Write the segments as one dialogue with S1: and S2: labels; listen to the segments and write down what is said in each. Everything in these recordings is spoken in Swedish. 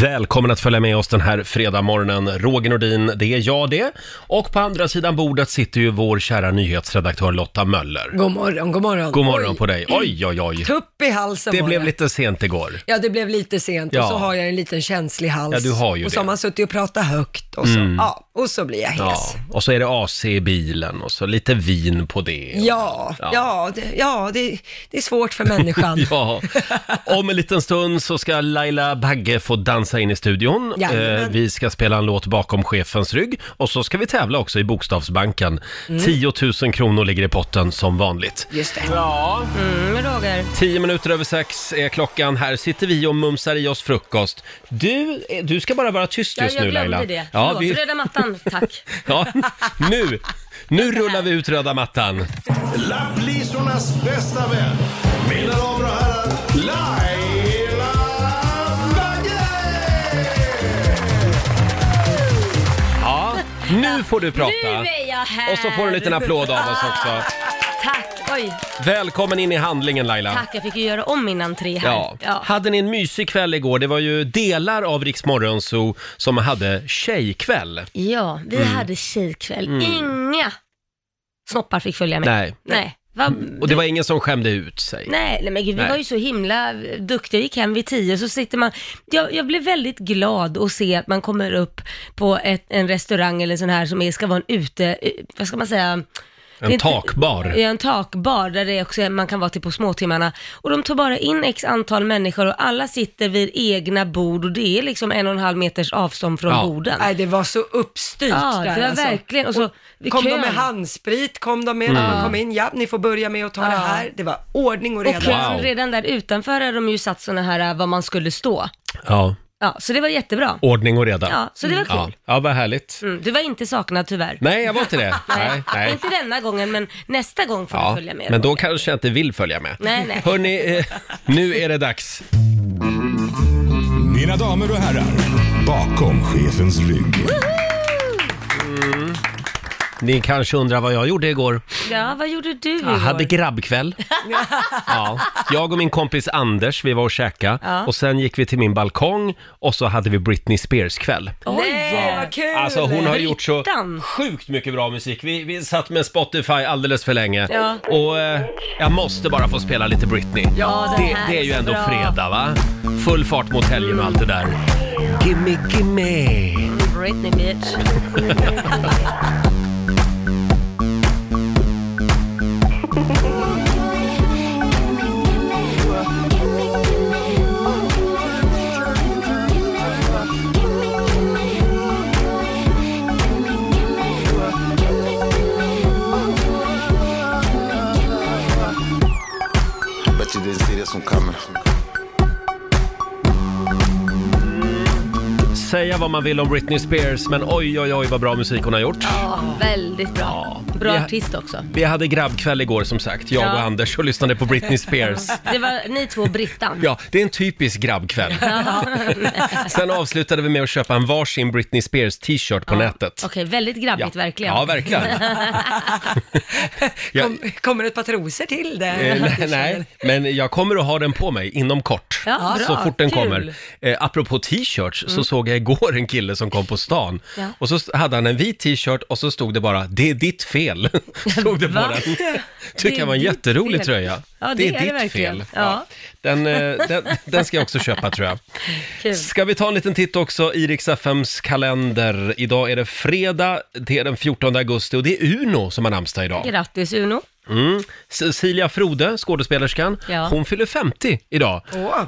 S1: Välkommen att följa med oss den här fredagmorgonen. Roger Nordin, det är jag det. Och på andra sidan bordet sitter ju vår kära nyhetsredaktör Lotta Möller.
S2: God morgon, god morgon.
S1: God morgon
S2: Oj,
S1: på dig. Oj, oj, oj.
S2: Tupp i halsen
S1: Det
S2: var
S1: blev
S2: det.
S1: lite sent igår.
S2: Ja, det blev lite sent
S1: Ja.
S2: och så har jag en liten känslig hals.
S1: Ja, du har ju
S2: och så
S1: det.
S2: har man suttit och pratat högt och så,
S1: Mm.
S2: ja, och så blir jag hes.
S1: Ja, och så är det AC i bilen och så lite vin på det.
S2: Ja,
S1: Ja.
S2: ja. det, ja det, det är svårt för människan.
S1: Ja, om en liten stund så ska Laila Bagge få dansa in i studion.
S2: Jajamän.
S1: Eh, vi ska spela en låt bakom chefens rygg och så ska vi tävla också i Bokstavsbanken.
S3: Mm.
S1: 10 000 kronor ligger i potten som vanligt.
S2: Just det.
S1: Ja.
S3: Mm, Roger.
S1: 10 minuter över sex är klockan. Här sitter vi och mumsar i oss frukost. Du, eh, du ska bara vara tyst
S3: Ja,
S1: just
S3: jag
S1: nu
S3: glömde
S1: Laila.
S3: det.
S1: Ja,
S3: Förlåt,
S1: vi,
S3: röda mattan, tack.
S1: ja, nu, nu rullar vi ut röda mattan.
S4: Lapplisornas bästa vän. Mina damer och herrar, Laila
S1: Ja, nu får du
S3: Nu
S1: prata.
S3: är jag här!
S1: Och så får du en liten applåd av oss också.
S3: Tack, oj.
S1: Välkommen in i handlingen Laila.
S3: Tack, jag fick ju göra om min entré här.
S1: Ja. Hade ni en mysig kväll igår? Det var ju delar av Rix Morgonzoo som hade tjejkväll.
S3: Ja, vi
S1: Mm.
S3: hade tjejkväll.
S1: Mm.
S3: Inga snoppar fick följa med.
S1: Nej.
S3: Nej. Va?
S1: Och det var ingen som skämde ut sig.
S3: Nej, nej men gud, vi
S1: Nej.
S3: var ju så himla duktiga. Jag gick hem vid tio, så sitter man... Jag, jag blev väldigt glad att se att man kommer upp på ett, en restaurang eller en sån här som är, ska vara en ute... eh, Vad ska man säga? Det är
S1: En
S3: inte-
S1: takbar.
S3: Ja, en takbar där det också är, man kan vara till på småtimmarna. Och de tar bara in x antal människor och alla sitter vid egna bord och det är liksom en och en halv meters avstånd från borden.
S2: Nej, det var så uppstyrt
S3: Ja,
S2: där
S3: det var
S2: alltså.
S3: verkligen. Och så, vid
S2: kom de
S3: kön.
S2: med handsprit, kom de med,
S3: Mm.
S2: kom in, ja, ni får börja med att ta det här. Det var ordning och
S3: Och
S2: reda.
S3: kön redan där utanför har de ju satt sådana här, eh, var man skulle stå.
S1: Ja,
S3: Ja, så det var jättebra.
S1: ordning och reda.
S3: Ja, så det var
S1: Mm.
S3: kul.
S1: Ja, ja vad härligt.
S3: Mm, du var inte saknad tyvärr.
S1: Nej, jag var inte det. Nej,
S3: Nej,
S1: nej.
S3: Inte denna gången, men nästa gång får du
S1: Ja,
S3: följa med.
S1: men då kanske jag inte vill följa med.
S3: Nej, nej.
S1: Hörni, eh, nu är det dags.
S4: Mina damer och herrar, bakom chefens rygg.
S1: Mm. Ni kanske undrar vad jag gjorde igår.
S3: Ja, vad gjorde du igår?
S1: Jag hade grabbkväll. Ja, jag och min kompis Anders, vi var och käkade
S3: Ja.
S1: och sen gick vi till min balkong och så hade vi Britney Spears kväll.
S2: Nej, vad kul!
S1: Alltså hon har gjort så sjukt mycket bra musik. Vi, vi satt med Spotify alldeles för länge.
S3: Ja.
S1: Och eh, jag måste bara få spela lite Britney.
S3: Ja, det
S1: det,
S3: här
S1: det är
S3: är
S1: ju
S3: så
S1: ändå
S3: bra.
S1: fredag va? Full fart mot helgen och allt det där. Gimme, gimme.
S3: Britney bitch.
S5: Bet you didn't see this one coming.
S1: Säga vad man vill om Britney Spears, men oj, oj, oj vad bra musik hon har gjort.
S3: Ja, väldigt bra. Bra
S1: Ja.
S3: artist också.
S1: Vi hade grabbkväll igår som sagt, jag
S3: Ja.
S1: och Anders och lyssnade på Britney Spears.
S3: Det var ni två och Brittan.
S1: Ja, det är en typisk grabbkväll. Sen avslutade vi med att köpa en varsin Britney Spears t-shirt på nätet.
S3: Okej, väldigt grabbigt verkligen.
S1: Ja, verkligen. Jag,
S2: Kommer ett par trosor till det?
S1: eh, nej, nej, men jag kommer att ha den på mig inom kort.
S2: Ja,
S1: så
S2: bra,
S1: fort den
S2: kul.
S1: kommer. Eh, apropå t-shirts så
S2: Mm.
S1: såg jag igår en kille som kom på stan.
S3: Ja.
S1: Och så st- hade han en vit t-shirt och så stod det bara “Det är ditt fel”. stod det på
S3: Va?
S1: den.
S3: Det
S1: Tycker
S3: är
S1: jag var en
S3: ditt
S1: jätterolig
S3: fel.
S1: tröja.
S3: Ja, det är det verkligen. Ja.
S1: Den, eh, den, den ska jag också köpa tror jag.
S3: Kul.
S1: Ska vi ta en liten titt också i Rix FMs kalender. Idag är det fredag, det är den 14 augusti och det är Uno som har namnsdag idag.
S3: Grattis Uno.
S1: Mm. Cecilia Frode, skådespelerskan,
S3: Ja.
S1: hon fyller 50 idag.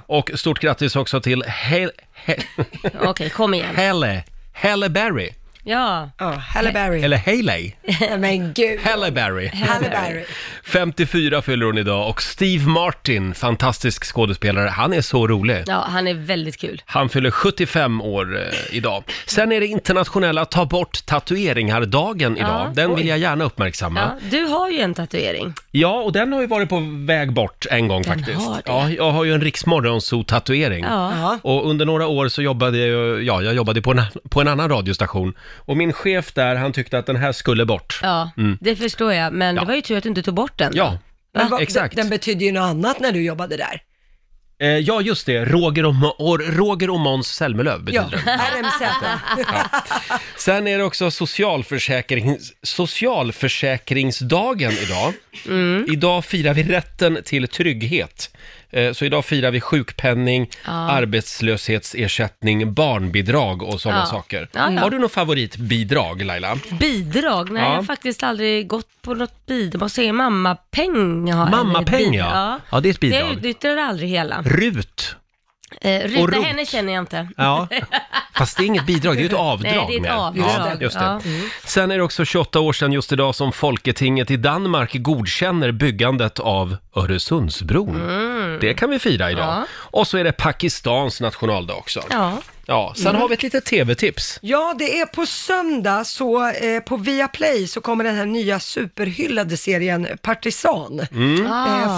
S1: Och stort grattis också till Hel- He-
S3: Okej, kom igen.
S1: Helle, Helle Berry.
S3: Ja.
S2: Ja, Halle Berry.
S1: Eller Haley.
S2: Men gud.
S1: Halle Berry.
S2: Halle Berry.
S1: 54 fyller hon idag och Steve Martin, fantastisk skådespelare, han är så rolig.
S3: Ja, han är väldigt kul.
S1: Han fyller 75 år eh, idag. Sen är det internationella ta bort tatueringar-dagen
S3: Ja,
S1: idag. Den vill
S3: oj.
S1: jag gärna uppmärksamma.
S3: Ja,
S1: Ja.
S3: du har ju en tatuering.
S1: och den har ju varit på väg bort en gång
S3: Den
S1: faktiskt.
S3: har det.
S1: Ja, jag har ju en Riksmorgonzoo-tatuering.
S3: Ja.
S1: Och under några år så jobbade jag, ju- ja, jag jobbade på en, på en annan radiostation. Och min chef där, han tyckte att den här skulle bort.
S3: Ja,
S1: Mm.
S3: det förstår jag, men det var ju tur att du inte tog bort den.
S1: Ja,
S2: Men vad-
S1: Ah, exakt.
S2: Den betydde ju något annat när du jobbade där.
S1: Eh, ja, just det. Roger och, Ma- och, Roger och Måns Zelmerlöw betyder
S2: Ja,
S1: det.
S2: RMZ.
S1: Sen är det också socialförsäkrings, socialförsäkringsdagen idag.
S3: Mm.
S1: Idag firar vi rätten till trygghet. Eh, Så idag firar vi sjukpenning, arbetslöshetsersättning, barnbidrag och sådana
S3: Ja.
S1: saker.
S3: Ja, ja.
S1: Har du något favoritbidrag Laila?
S3: Bidrag? Nej,
S1: Ja.
S3: jag har faktiskt aldrig gått på något bidrag. Vad säger mammapeng? har jag.
S1: Mammapeng
S3: Bid-
S1: ja. ja, det är ett
S3: Jag
S1: bidrag.
S3: utnyttjar det aldrig hela.
S1: RUT.
S3: Eh,
S1: Och
S3: Rita
S1: rot.
S3: henne känner jag inte.
S1: Ja, fast det är inget bidrag, det är ju ett avdrag.
S3: Nej, det är ett
S1: mer.
S3: avdrag.
S1: Ja, just det.
S3: Ja. Mm.
S1: Sen är det också 28 år sedan just idag som Folketinget i Danmark godkänner byggandet av Öresundsbron. Det kan vi fira idag.
S3: Mm. Ja.
S1: Och så är det Pakistans nationaldag också. Ja,
S3: Ja. Mm.
S1: sen har vi ett litet tv-tips.
S2: Ja, det är på söndag så eh, på Viaplay så kommer den här nya superhyllade serien Partisan. Eh,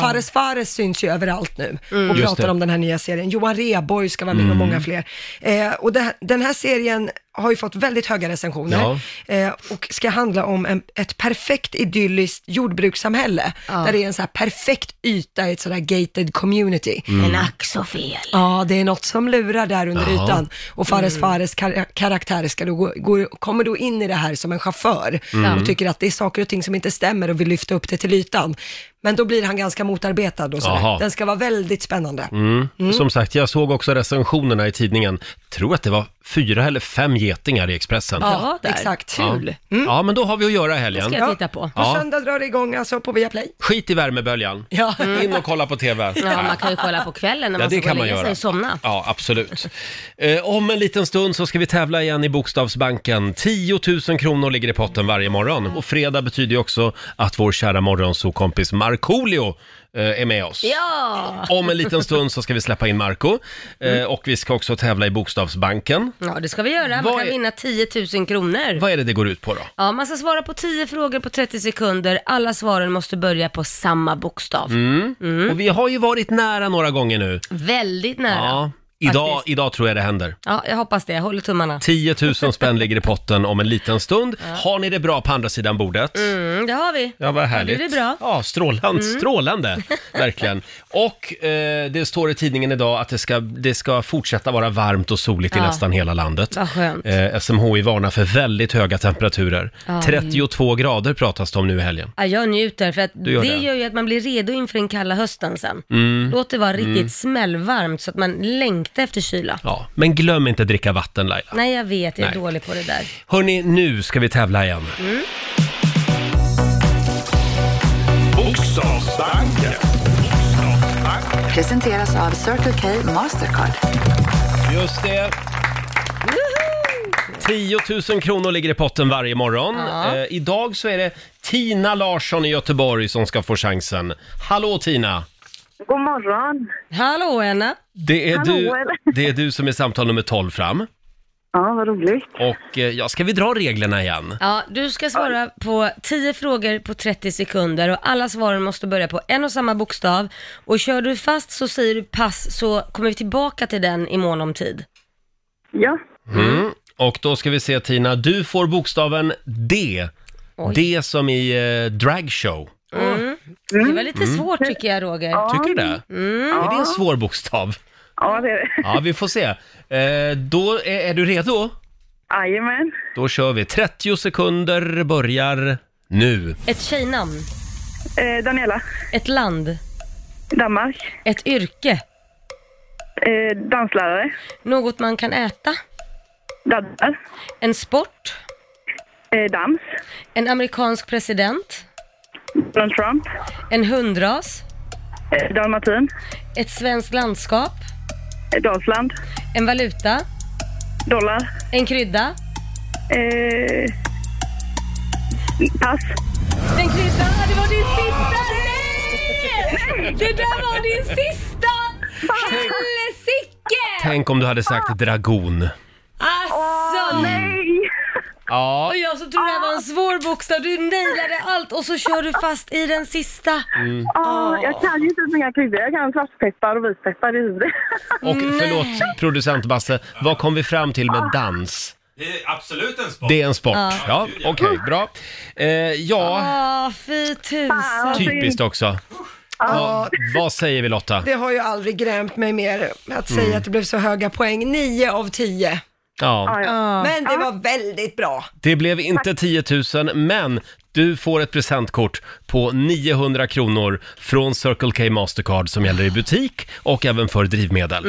S2: Fares Fares syns ju överallt nu och
S1: Mm. Ah. Just
S2: pratar
S1: det. Mm.
S2: om den här nya serien. Johan Rheborg ska vara med och många fler. Eh, och det, den här serien har ju fått väldigt höga recensioner eh, och ska handla om en, ett perfekt idylliskt jordbrukssamhälle där det är en så här perfekt yta i ett sådär gated community.
S1: Mm.
S3: Men ack så fel.
S2: Ja, det är något som lurar där under
S1: Jaha.
S2: ytan. Och Fares Fares kar- karaktär ska då gå, går, kommer då in i det här som en chaufför
S1: Mm.
S2: och tycker att det är saker och ting som inte stämmer och vill lyfta upp det till ytan. Men då blir han ganska motarbetad och
S1: Jaha. Mm.
S2: sådär. Den ska vara väldigt spännande.
S3: Mm.
S1: Som sagt, jag såg också recensionerna i tidningen. Tror att det var fyra eller fem getingar i Expressen.
S3: Ja,
S2: Ja,
S3: där.
S2: exakt.
S1: Ja.
S3: kul. Mm.
S1: Ja, men då har vi att göra i helgen.
S3: Ska jag titta på.
S2: På
S1: Ja.
S2: söndag drar det igång alltså på Viaplay.
S1: Skit i värmeböljan.
S2: Ja.
S1: In och kolla på TV.
S3: Ja, man kan ju kolla på kvällen när
S1: Ja,
S3: man
S1: det kan
S3: ska gå och
S1: man
S3: lägga sig
S1: göra.
S3: och somna.
S1: Ja, absolut. Eh, om en liten stund så ska vi tävla igen i Bokstavsbanken. 10 000 kronor ligger i potten varje morgon. Och fredag betyder ju också att vår kära morgonsokompis Markoolio eh, är med oss.
S3: Ja!
S1: Om en liten stund så ska vi släppa in Marco eh,
S3: Mm.
S1: och vi ska också tävla i Bokstavsbanken.
S3: Ja, det ska vi göra. Man
S1: Vad
S3: kan
S1: är-
S3: vinna 10 000 kronor.
S1: Vad är det det går ut på då?
S3: Ja, man ska svara på 10 frågor på 30 sekunder. Alla svaren måste börja på samma bokstav.
S1: Mm.
S3: Mm.
S1: Och vi har ju varit nära några gånger nu.
S3: Väldigt nära.
S1: Ja,
S3: Ja.
S1: idag,
S3: Faktiskt.
S1: idag tror jag det händer.
S3: jag hoppas det. Jag håller tummarna.
S1: 10 000 spänn ligger i potten om en liten stund. Har ni det bra på andra sidan bordet?
S3: Mm, det har vi.
S1: Ja, vad härligt.
S3: det är bra. Mm.
S1: Ja, strålande, strålande verkligen. Och eh, det står i tidningen idag att det ska, det ska fortsätta vara varmt och soligt i
S3: Ja.
S1: nästan hela landet.
S3: Vad skönt.
S1: Eh, SMHI varnar för väldigt höga temperaturer. 32 grader pratas det om nu i helgen.
S3: Ja, jag njuter för att
S1: gör
S3: det,
S1: det. Mm.
S3: gör ju att man blir redo inför den kalla hösten sen. Låt det vara riktigt smällvarmt så att man längtar efter kyla.
S1: Ja, men glöm inte att dricka vatten Laila.
S3: Nej, jag vet. Jag är
S1: Nej.
S3: dålig på det där.
S1: Hörni, nu ska vi tävla igen.
S3: Mm.
S4: Bokstavsbanken.
S6: Presenteras av Circle K Mastercard.
S1: Just det. 10 000 kronor ligger i potten varje morgon.
S3: Ja.
S1: Eh, idag så är det Tina Larsson i Göteborg som ska få chansen. Hallå Tina!
S7: God morgon.
S3: Hallå, Anna.
S1: Det är,
S7: Hallå,
S1: du,
S7: eller?
S1: det är du som är samtal nummer 12 fram.
S7: Ja, vad roligt.
S1: Och eh, ja, ska vi dra reglerna igen?
S3: Ja, du ska svara på 10 frågor på 30 sekunder och alla svaren måste börja på en och samma bokstav. Och kör du fast så säger du pass så kommer vi tillbaka till den i mån om tid.
S7: Ja,
S1: Mm. Och då ska vi se Tina, du får bokstaven D.
S3: Oj.
S1: D som i eh, dragshow.
S3: Det var
S1: Mm.
S3: lite svårt tycker jag Roger.
S1: Tycker du det?
S7: Mm.
S1: Är det en svår bokstav?
S7: ja det är det.
S1: Ja, vi får se. Eh, då är, är du redo?
S7: Jajamän.
S1: Då kör vi. 30 sekunder börjar nu.
S3: Ett tjejnamn,
S7: Eh, Daniela.
S3: ett land,
S7: Danmark.
S3: ett yrke,
S7: Eh, danslärare.
S3: något man kan äta,
S7: Daddar.
S3: en sport,
S7: Eh, dans.
S3: en amerikansk president,
S7: Donald Trump.
S3: en hundras,
S7: Eh, dalmatin.
S3: ett svenskt landskap,
S7: Eh, Dalsland.
S3: en valuta,
S7: Dollar.
S3: en krydda,
S7: Eh, pass.
S3: Den kryddan, det var din sista! Nej! Det där var din sista! Helsike!
S1: Tänk om du hade
S7: Ah.
S1: sagt dragon.
S3: Alltså!
S7: Nej!
S1: Ja,
S3: Och jag som trodde det här var en svår bokstav, du nailade allt och så kör du fast i den sista.
S7: Ah, Jag kan ju inte så många kryddor. Jag kan svartpeppar och vitpeppar. Det är det.
S1: och förlåt producent Basse, vad kom vi fram till med dans?
S8: Det är absolut en sport.
S1: Det är en sport. Ja, okej, bra. Eh, ja,
S3: Ah, fy tusan.
S1: typiskt också. Ja, vad säger vi Lotta?
S2: Det har ju aldrig grämt mig mer att säga
S1: Mm.
S2: att det blev så höga poäng. 9 av 10.
S1: Ja,
S7: Ja, Ah, ja.
S2: Men det var väldigt bra.
S1: det blev inte 10 000, men du får ett presentkort på 900 kronor från Circle K Mastercard som gäller i butik och även för drivmedel.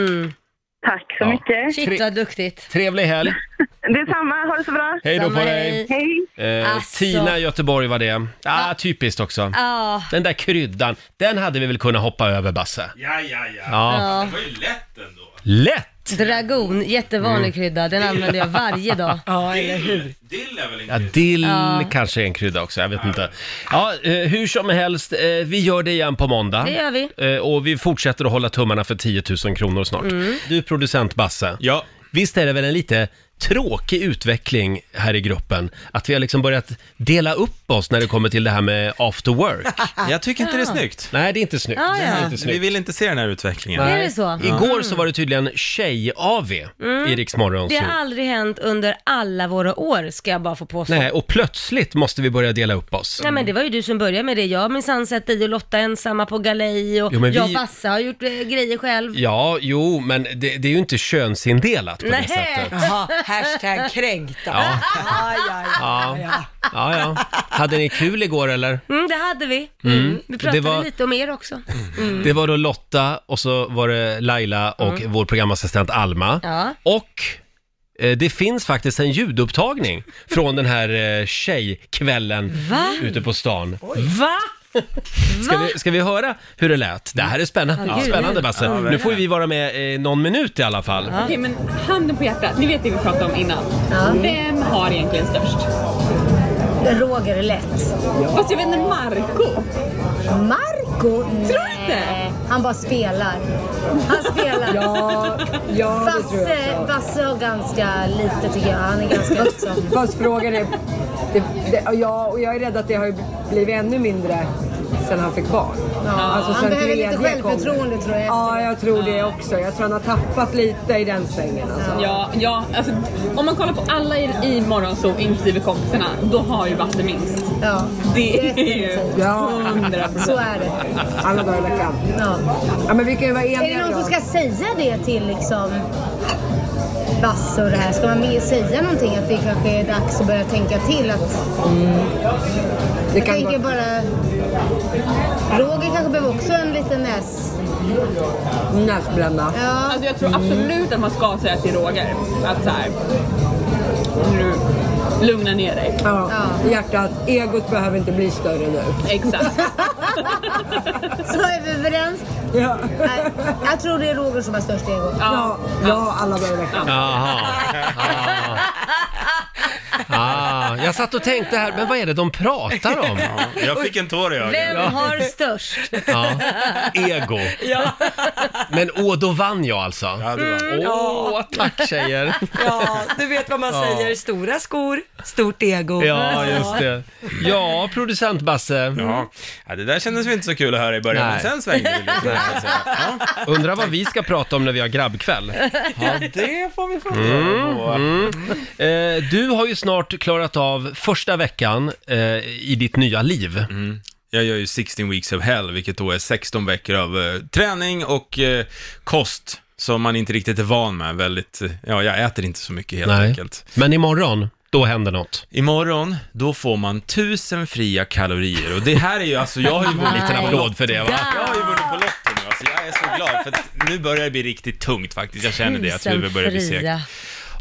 S7: Tack så
S1: Ja.
S7: mycket.
S3: Shit vad duktigt.
S1: Trevlig helg!
S7: Detsamma, ha det så bra.
S1: Hej då på
S3: Samma
S1: dig!
S3: hej.
S7: Hej.
S1: Eh,
S3: Alltså.
S1: Tina i Göteborg var det. Ah, typiskt också.
S3: Ja,
S1: Den där kryddan, den hade vi väl kunnat hoppa över Basse?
S8: Ja, ja, ja.
S1: Ja.
S3: ja.
S8: Det var ju lätt ändå.
S1: Lätt!
S3: Dragon, jättevanlig krydda. Den använder jag varje dag.
S2: Ja, eller hur?
S8: Dill, dill är väl en
S1: Ja,
S8: grej?
S1: dill kanske är en krydda också, jag vet inte. Ja, eh, hur som helst, eh, vi gör det igen på måndag.
S3: Det gör vi.
S1: Eh, och vi fortsätter att hålla tummarna för 10 000 kronor snart.
S3: Mm.
S1: Du är producent Basse.
S8: Ja.
S1: Visst är det väl en lite tråkig utveckling här i gruppen? Att vi har liksom börjat dela upp oss när det kommer till det här med after work.
S8: Jag tycker inte det är snyggt.
S1: Nej, det är inte snyggt.
S3: Ja, ja.
S1: Det är inte
S8: Vi
S1: snyggt.
S8: vill inte se den här utvecklingen.
S3: Nej. Är
S1: Nej.
S3: det så? Mm.
S1: Igår så var det tydligen tjej-AV i Rix Morgon
S3: Det
S1: Zoo.
S3: har aldrig hänt under alla våra år, ska jag bara få påstå. Nej.
S1: Nej, och plötsligt måste vi börja dela upp oss.
S3: men det var ju du som började med det. Jag har minsann sett dig och Lotta ensamma på galej och
S1: Jo, men
S3: jag och
S1: vi-
S3: Basse har gjort eh, grejer själv.
S1: Ja, jo, men det, det är ju inte könsindelat på det
S3: Nej.
S1: sättet.
S2: Jaha, hashtag alltså. kränkta.
S1: Ja.
S2: Ja, ja, ja, ja.
S1: Ja, ja. Hade ni kul igår eller?
S3: Mm, det hade vi. Mm. Vi pratade
S1: Det var-
S3: lite om er också. Mm.
S1: Det var då Lotta och så var det Laila och vår programassistent Alma.
S3: Ja.
S1: Och eh, det finns faktiskt en ljudupptagning från den här eh, tjejkvällen
S3: Va?
S1: ute på stan.
S3: Va?
S1: Ska vi, ska vi höra hur det lät? Det här är spännande,
S3: Ja, gud.
S1: spännande Basse.
S3: Ja,
S1: nu får ju vi vara med eh, någon minut i alla fall.
S9: Okej, men handen på hjärtat, ni vet det vi pratade om innan. Vem har egentligen störst?
S10: Roger är lätt.
S9: Fast jag vet inte, Marco?
S10: Marco?
S9: Tror du inte?
S10: Han bara spelar. Han spelar.
S9: Ja,
S10: ja Basse, Basse har ganska lite tycker jag. Han är ganska liksom...
S9: Fast frågan är... Det, det, ja, och jag är rädd att det har ju blivit ännu mindre sen han fick barn.
S10: Ja, han
S9: sen
S10: behöver lite
S9: alltså tredje
S10: självförtroende tror jag. efter
S9: jag tror det också. Jag tror han har tappat lite i den svängen. Ja, ja alltså, om man kollar på alla i, i Morgonzoo, inklusive kompisarna, då har ju Basse minst.
S10: det. Ja,
S9: Det är ju
S10: definitivt.
S9: hundra
S10: Så
S9: procent.
S10: är det.
S9: Alla dagar i veckan.
S10: Ja.
S9: Ja, men vi kan ju vara
S10: Är det någon som ska säga det till liksom Basse och det här? Ska man med säga någonting att det kanske är dags att börja tänka till? Att... Jag
S9: kan
S10: tänker bara... Roger kanske behöver också en liten näs...
S9: Näsbränna.
S10: Ja.
S9: Alltså jag tror absolut att man ska säga till Roger att så här, nu, lugna ner dig.
S10: Ja.
S9: Hjärtat, egot behöver inte bli större nu. Exakt.
S10: Så är vi överens.
S9: ja.
S10: Nej, jag tror det är Roger som har störst ego.
S9: Ja. ja, alla behöver
S1: Jaha. Ah. Ah. Jag satt och tänkte här, men vad är det de pratar om?
S8: Jag fick en tår i ögat.
S3: Vem har störst?
S1: Ja. Ego. Men åh, då vann jag alltså.
S8: Ja, det var.
S3: Mm,
S1: Åh, tack tjejer.
S2: ja, du vet vad man säger. Stora skor, stort ego.
S1: Ja, just det. Ja, producent Basse.
S8: Ja. ja, det där kändes väl inte så kul att höra i början,
S1: Nej.
S8: men sen svängde det lite. kan jag säga. Ja.
S1: Undrar vad vi ska prata om när vi har grabbkväll.
S8: ja, det får vi
S1: Mm.
S8: fundera på.
S1: Eh, du har ju snart klarat av första veckan eh, i ditt nya liv.
S8: Mm. Jag gör ju 16 weeks of hell, vilket då är 16 veckor av eh, träning och eh, kost som man inte riktigt är van med. Väldigt, eh, ja, jag äter inte så mycket helt enkelt.
S1: Men imorgon, då händer något.
S8: Imorgon, då får man 1000 fria kalorier och det här är ju alltså, jag har ju vunnit
S1: En
S3: Nej.
S1: applåd för det va?
S8: Jag har ju vunnit på lotten nu, alltså jag är så glad för att nu börjar det bli riktigt tungt faktiskt. Jag känner det att huvudet börjar bli segt.
S3: Tusenfria.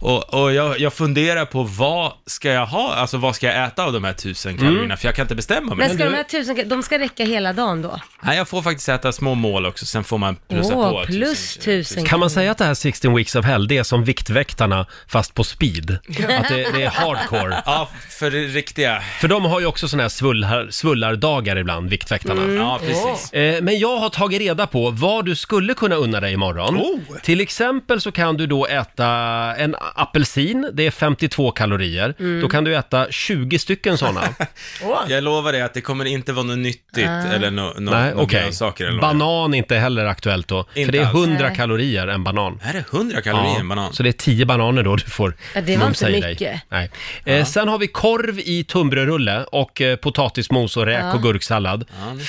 S8: Och, och jag, jag funderar på vad ska jag ha, alltså vad ska jag äta av de här 1000 kalorierna?
S1: Mm.
S8: För jag kan inte bestämma mig.
S3: Men ska de här tusen, de ska räcka hela dagen då?
S8: Nej, jag får faktiskt äta små mål också, sen får man plussa
S3: Åh,
S8: på.
S3: plus
S8: 1000.
S3: tusen.
S1: Kan man säga att det här 16 weeks of hell, det är som Viktväktarna fast på speed? Att det, det är hardcore?
S8: Ja, för det riktiga.
S1: För de har ju också såna här svullar, svullardagar ibland, Viktväktarna.
S3: Mm.
S8: Ja, precis.
S1: Eh, Men jag har tagit reda på vad du skulle kunna unna dig imorgon.
S8: Oh.
S1: Till exempel så kan du då äta en apelsin, det är 52 kalorier.
S8: Mm.
S1: Då kan du äta 20 stycken sådana.
S8: Jag lovar dig att det kommer inte vara något nyttigt
S1: Ah.
S8: eller no, no,
S1: Nej,
S8: några
S1: okej.
S8: saker eller något.
S1: Banan inte heller aktuellt då.
S8: Inte
S1: för det är
S8: alls.
S1: 100
S3: Nej.
S1: kalorier en banan.
S8: Är det 100 kalorier en banan?
S1: Så det är 10 bananer då du får
S3: Ja, det var
S1: mumsa
S3: inte
S1: i dig.
S3: mycket.
S1: Nej. Eh, sen har vi korv i tunnbrödsrulle och eh, potatismos och räk
S3: Ja.
S1: och gurksallad.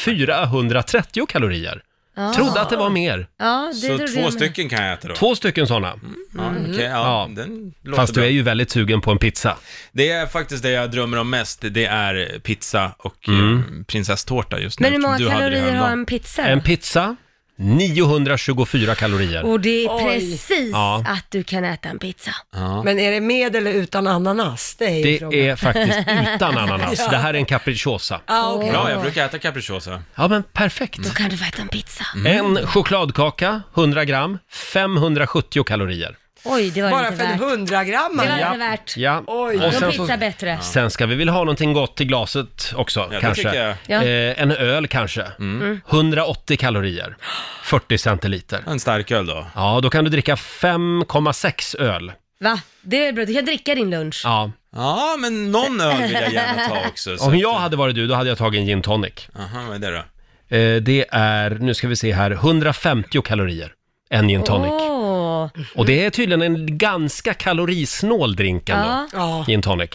S1: 430 kalorier.
S3: Ja.
S1: Trodde att det var mer.
S3: Ja, det trodde jag Mm. med.
S8: kan jag äta då?
S1: Två stycken sådana.
S8: Ja, okej, ja, den Mm, låter
S1: Fast du
S8: bra.
S1: är ju väldigt sugen på en pizza.
S8: Det är faktiskt det jag drömmer om mest, det är pizza och
S1: Mm.
S8: eh, prinsesstårta just nu.
S3: Men hur många
S8: eftersom du hade det
S3: kalorier har
S8: häromdagen.
S3: en pizza? då?
S1: En pizza, 924 kalorier.
S3: Och det är
S2: Oj.
S3: precis
S1: Ja.
S3: att du kan äta en pizza.
S1: Ja.
S2: Men är det med eller utan ananas? Det är, ju
S1: Det
S2: frågan.
S1: är faktiskt utan ananas.
S2: Ja.
S1: Det här är en capricciosa.
S2: Ja, okej.
S8: Bra, jag brukar äta capricciosa.
S1: Ja, men perfekt.
S8: Mm.
S1: Då
S3: kan du få äta en pizza.
S1: En chokladkaka, 100 gram, 570 kalorier.
S3: Oj, det var
S2: Bara
S3: inte
S2: för en
S3: värt.
S2: 100 gram.
S3: Det var
S1: Ja.
S3: inte värt.
S1: Ja.
S3: Oj.
S1: Och sen
S3: Någon
S1: så-
S3: pizza bättre.
S1: Sen ska vi väl ha någonting gott till glaset också,
S8: det tycker
S1: kanske.
S8: jag.
S3: Ja.
S1: Eh, en öl kanske.
S3: Mm.
S1: 180 kalorier, 40 centiliter.
S8: En stark öl då?
S1: Ja, då kan du dricka 5,6 öl.
S3: Va? Det är bra, du kan dricka din lunch.
S1: Ja.
S8: Ja, men någon öl vill jag gärna ta också. Så.
S1: Om jag hade varit du, då hade jag tagit en gin tonic.
S8: Aha, vad är det då?
S1: Eh, det är, nu ska vi se här, 150 kalorier. En gin tonic.
S3: Åh.
S1: Och det är tydligen en ganska kalorisnål drink ändå.
S3: Ja.
S1: Gin tonic.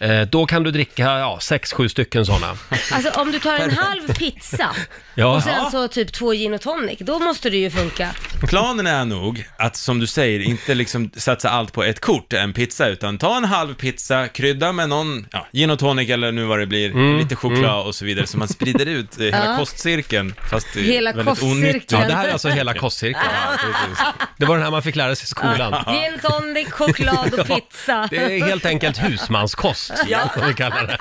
S1: Eh, då kan du dricka, ja, sex, sju stycken sådana.
S3: Alltså om du tar en halv pizza
S1: Ja.
S3: och sen
S1: Ja.
S3: så typ två gin och tonic, då måste det ju funka.
S8: Planen är nog att, som du säger, inte liksom satsa allt på ett kort, en pizza, utan ta en halv pizza, krydda med någon, ja, gin och tonic eller nu vad det blir,
S1: Mm,
S8: lite choklad
S1: mm.
S8: och så vidare, så man sprider ut eh, hela
S3: Ja.
S8: kostcirkeln, fast eh,
S3: Hela
S8: väldigt
S3: kostcirkeln.
S8: onyttigt.
S1: Ja, det här är alltså hela kostcirkeln. Det var den här man fick lära sig i skolan.
S3: Ja. Gin, tonic, choklad och
S1: Ja,
S3: pizza.
S1: Det är helt enkelt husmanskost,
S3: Ja.
S1: som vi kallar det.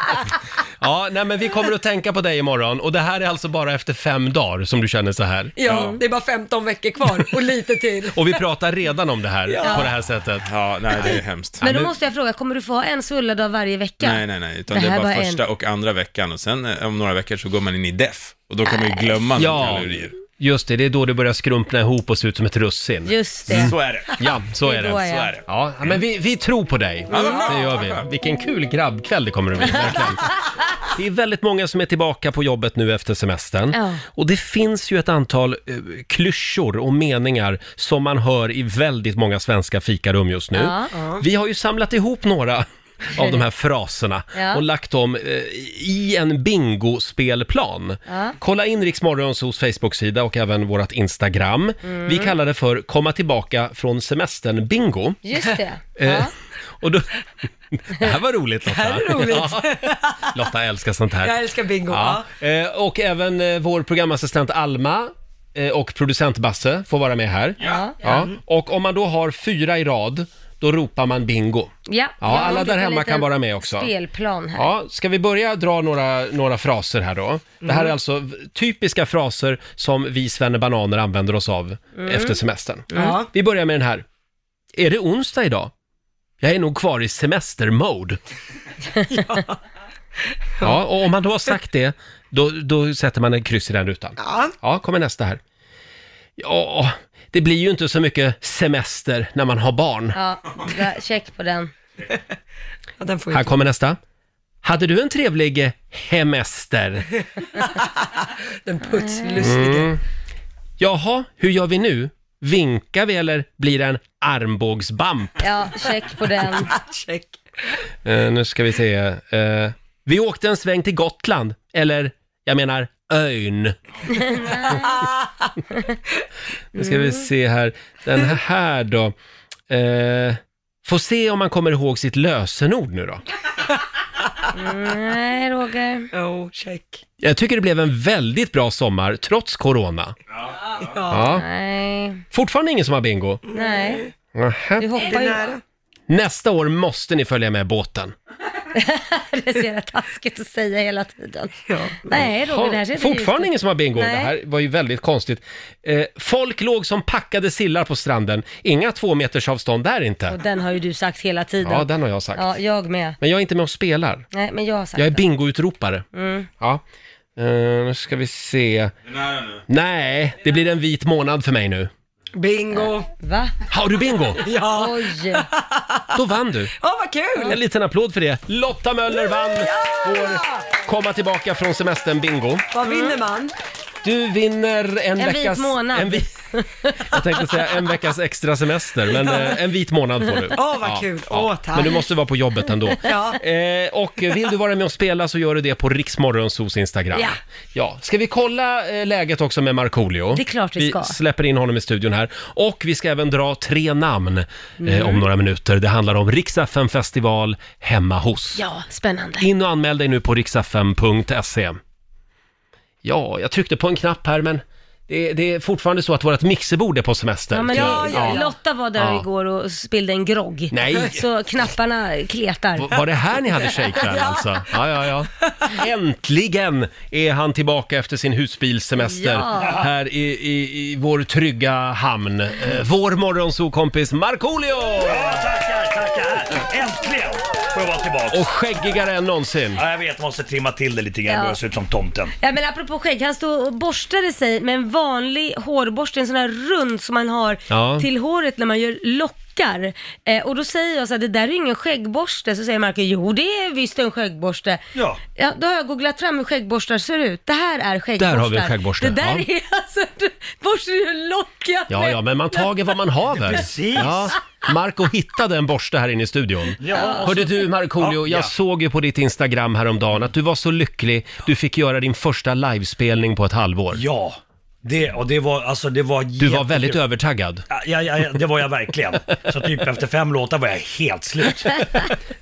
S1: Ja, nej men vi kommer att tänka på dig imorgon och det här är alltså bara efter fem dagar som du känner så här.
S2: Ja, det är bara 15 veckor kvar och lite till.
S1: Och vi pratar redan om det här
S3: Ja.
S1: på det här sättet.
S8: Ja, nej det är hemskt.
S3: Men då måste jag fråga, kommer du få ha en svullad av varje vecka?
S8: Nej, nej, nej, utan
S3: Det
S8: det,
S3: här
S8: är bara
S3: var en.
S8: första och andra veckan och sen eh, om några veckor så går man in i DEF och då kan man ju glömma några
S1: Ja,
S8: kalorier.
S1: just det, det är då du börjar skrumpna ihop och se ut som ett russin.
S3: Just det.
S8: Så är det.
S1: Ja, så
S8: Det
S1: är det.
S8: är då jag- Så är det.
S1: Ja, men vi, vi tror på dig.
S8: Ja, vad bra,
S1: Det gör
S8: vad bra.
S1: vi. Vilken kul grabbkväll det kommer att bli, verkligen. Det är väldigt många som är tillbaka på jobbet nu efter semestern.
S3: Ja.
S1: Och det finns ju ett antal eh, klyschor och meningar som man hör i väldigt många svenska fikarum just nu.
S3: Ja. Ja.
S1: Vi har ju samlat ihop några av de här fraserna
S3: Ja.
S1: och lagt dem eh, i en bingospelplan.
S3: Ja.
S1: Kolla in Rix Morgonzoos Facebook-sida och även vårt Instagram.
S3: Mm.
S1: Vi kallar det för “Komma tillbaka från semestern-bingo”.
S3: Just det.
S1: Eh, och då, det här var roligt Lotta.
S2: här är roligt.
S1: Ja, Lotta älskar sånt här.
S2: Jag älskar bingo.
S1: Ja.
S2: Ja.
S1: Eh, och även eh, vår programassistent Alma eh, och producent Basse får vara med här.
S3: Ja.
S1: Ja. Och om man då har fyra i rad, då ropar man bingo.
S3: Ja,
S1: Ja, alla
S3: jag
S1: där
S3: har en
S1: hemma
S3: liten
S1: kan vara med också.
S3: Spelplan här.
S1: Ja, ska vi börja dra några, några fraser här då? Det
S3: Mm.
S1: här är alltså v- typiska fraser som vi bananer använder oss av
S3: Mm.
S1: efter semestern.
S3: Ja.
S1: Vi börjar med den här. Är det onsdag idag? Jag är nog kvar i semestermode. ja. och om man då har sagt det, då, då sätter man en kryss i den rutan.
S2: Ja.
S1: Ja, kommer nästa här. Ja, det blir ju inte så mycket semester när man har barn.
S3: Ja, där, check på den.
S1: Här kommer nästa. Hade du en trevlig eh, hemester?
S2: Den putslustiga.
S1: Mm. Jaha, hur gör vi nu? Vinkar vi eller blir det en armbågsbamp?
S3: Ja, check på den.
S2: check.
S1: Eh, nu ska vi se. Eh, vi åkte en sväng till Gotland, eller jag menar ön. Nu ska vi se här. Den här då. Eh, får se om man kommer ihåg sitt lösenord nu då.
S3: Nej, Roger.
S2: Jo, Oh, check.
S1: Jag tycker det blev en väldigt bra sommar, trots corona. Ja.
S3: Nej.
S1: Fortfarande ingen som har bingo?
S3: Nej.
S1: Nähä.
S3: Du hoppar ju...
S1: Nästa år måste ni följa med båten.
S3: Det är så jävla taskigt att säga hela tiden. Nej, Roger, det här ser
S1: Ja,
S3: inte
S1: Fortfarande
S3: ut.
S1: ingen som har bingo.
S3: Nej.
S1: Det här var ju väldigt konstigt. Eh, folk låg som packade sillar på stranden. Inga två meters avstånd där
S3: Och
S1: inte.
S3: den har ju du sagt hela tiden.
S1: Ja, den har jag sagt.
S3: Ja, jag med.
S1: Men jag är inte med och spelar.
S3: Nej, men jag har sagt
S1: Jag är
S3: den.
S1: bingoutropare.
S3: Mm.
S1: Ja. Eh, nu ska vi se. Nej, det blir en vit månad för mig nu.
S2: Bingo!
S3: Va?
S1: Har du bingo?
S2: Ja!
S3: Oj!
S1: Då vann du.
S2: Ja, vad kul!
S1: En liten applåd för det. Lotta Möller vann vår komma tillbaka från semestern bingo.
S2: Vad vinner man?
S1: Du vinner en,
S3: En vit
S1: veckas...
S3: månad.
S1: En vi... Jag tänkte säga en veckas extra semester, men eh, en vit månad får du.
S2: Åh, vad kul. Åh, tack.
S1: Men du måste vara på jobbet ändå.
S2: Ja.
S1: Eh, och vill du vara med och spela så gör du det på Riksmorgonsos Instagram.
S3: Ja.
S1: ja. Ska vi kolla eh, läget också med Markoolio?
S3: Det är klart vi ska.
S1: släpper in honom i studion här. Och vi ska även dra tre namn eh,
S3: Mm.
S1: om några minuter. Det handlar om Rix FM festival hemma hos.
S3: Ja, spännande.
S1: In och anmäl dig nu på riksfm.se. Ja, jag tryckte på en knapp här men det, det är fortfarande så att vårt mixerbord är på semester.
S3: Ja, men
S1: tyvärr.
S3: ja, Lotta var där
S1: Ja.
S3: igår och spillde en grogg.
S1: Nej.
S3: Så knapparna kletar.
S1: V- Var det här ni hade tjejkväll alltså? Ja, ja, ja. Äntligen är han tillbaka efter sin husbilssemester
S3: Ja.
S1: här i, i, i vår trygga hamn. Eh, Vår morgonsokompis Markoolio!
S11: Ja, tackar, tackar. Äntligen får jag vara tillbaka.
S1: Och skäggigare än någonsin.
S11: Ja, jag vet, jag måste trimma till det lite grann.
S3: Ja.
S11: Börjar se ut som tomten.
S3: Ja men apropå skägg, han stod och borstade sig med en vanlig hårborste, en sån här rund som man har
S1: Ja.
S3: till håret när man gör lockar. Eh, och då säger jag så här, det där är ju ingen skäggborste. Så säger Marco, jo det är visst en skäggborste.
S11: Ja.
S3: Ja, då har jag googlat fram hur skäggborstar ser ut. Det här är skäggborstar.
S1: Där har vi en skäggborste,
S3: Det där
S1: ja.
S3: är alltså, du borstar ju lockar
S1: Ja,
S3: med.
S1: ja, men man tager vad man haver.
S11: Precis.
S1: Ja. Marco hittade en borste här inne i studion. Hörde du Markoolio,
S11: Ja, ja.
S1: jag såg ju på ditt Instagram häromdagen att du var så lycklig. Du fick göra din första livespelning på ett halvår.
S11: Ja, det, och det var, alltså det var
S1: Du var väldigt övertaggad.
S11: Ja, ja, ja, det var jag verkligen. Så typ efter fem låtar var jag helt slut.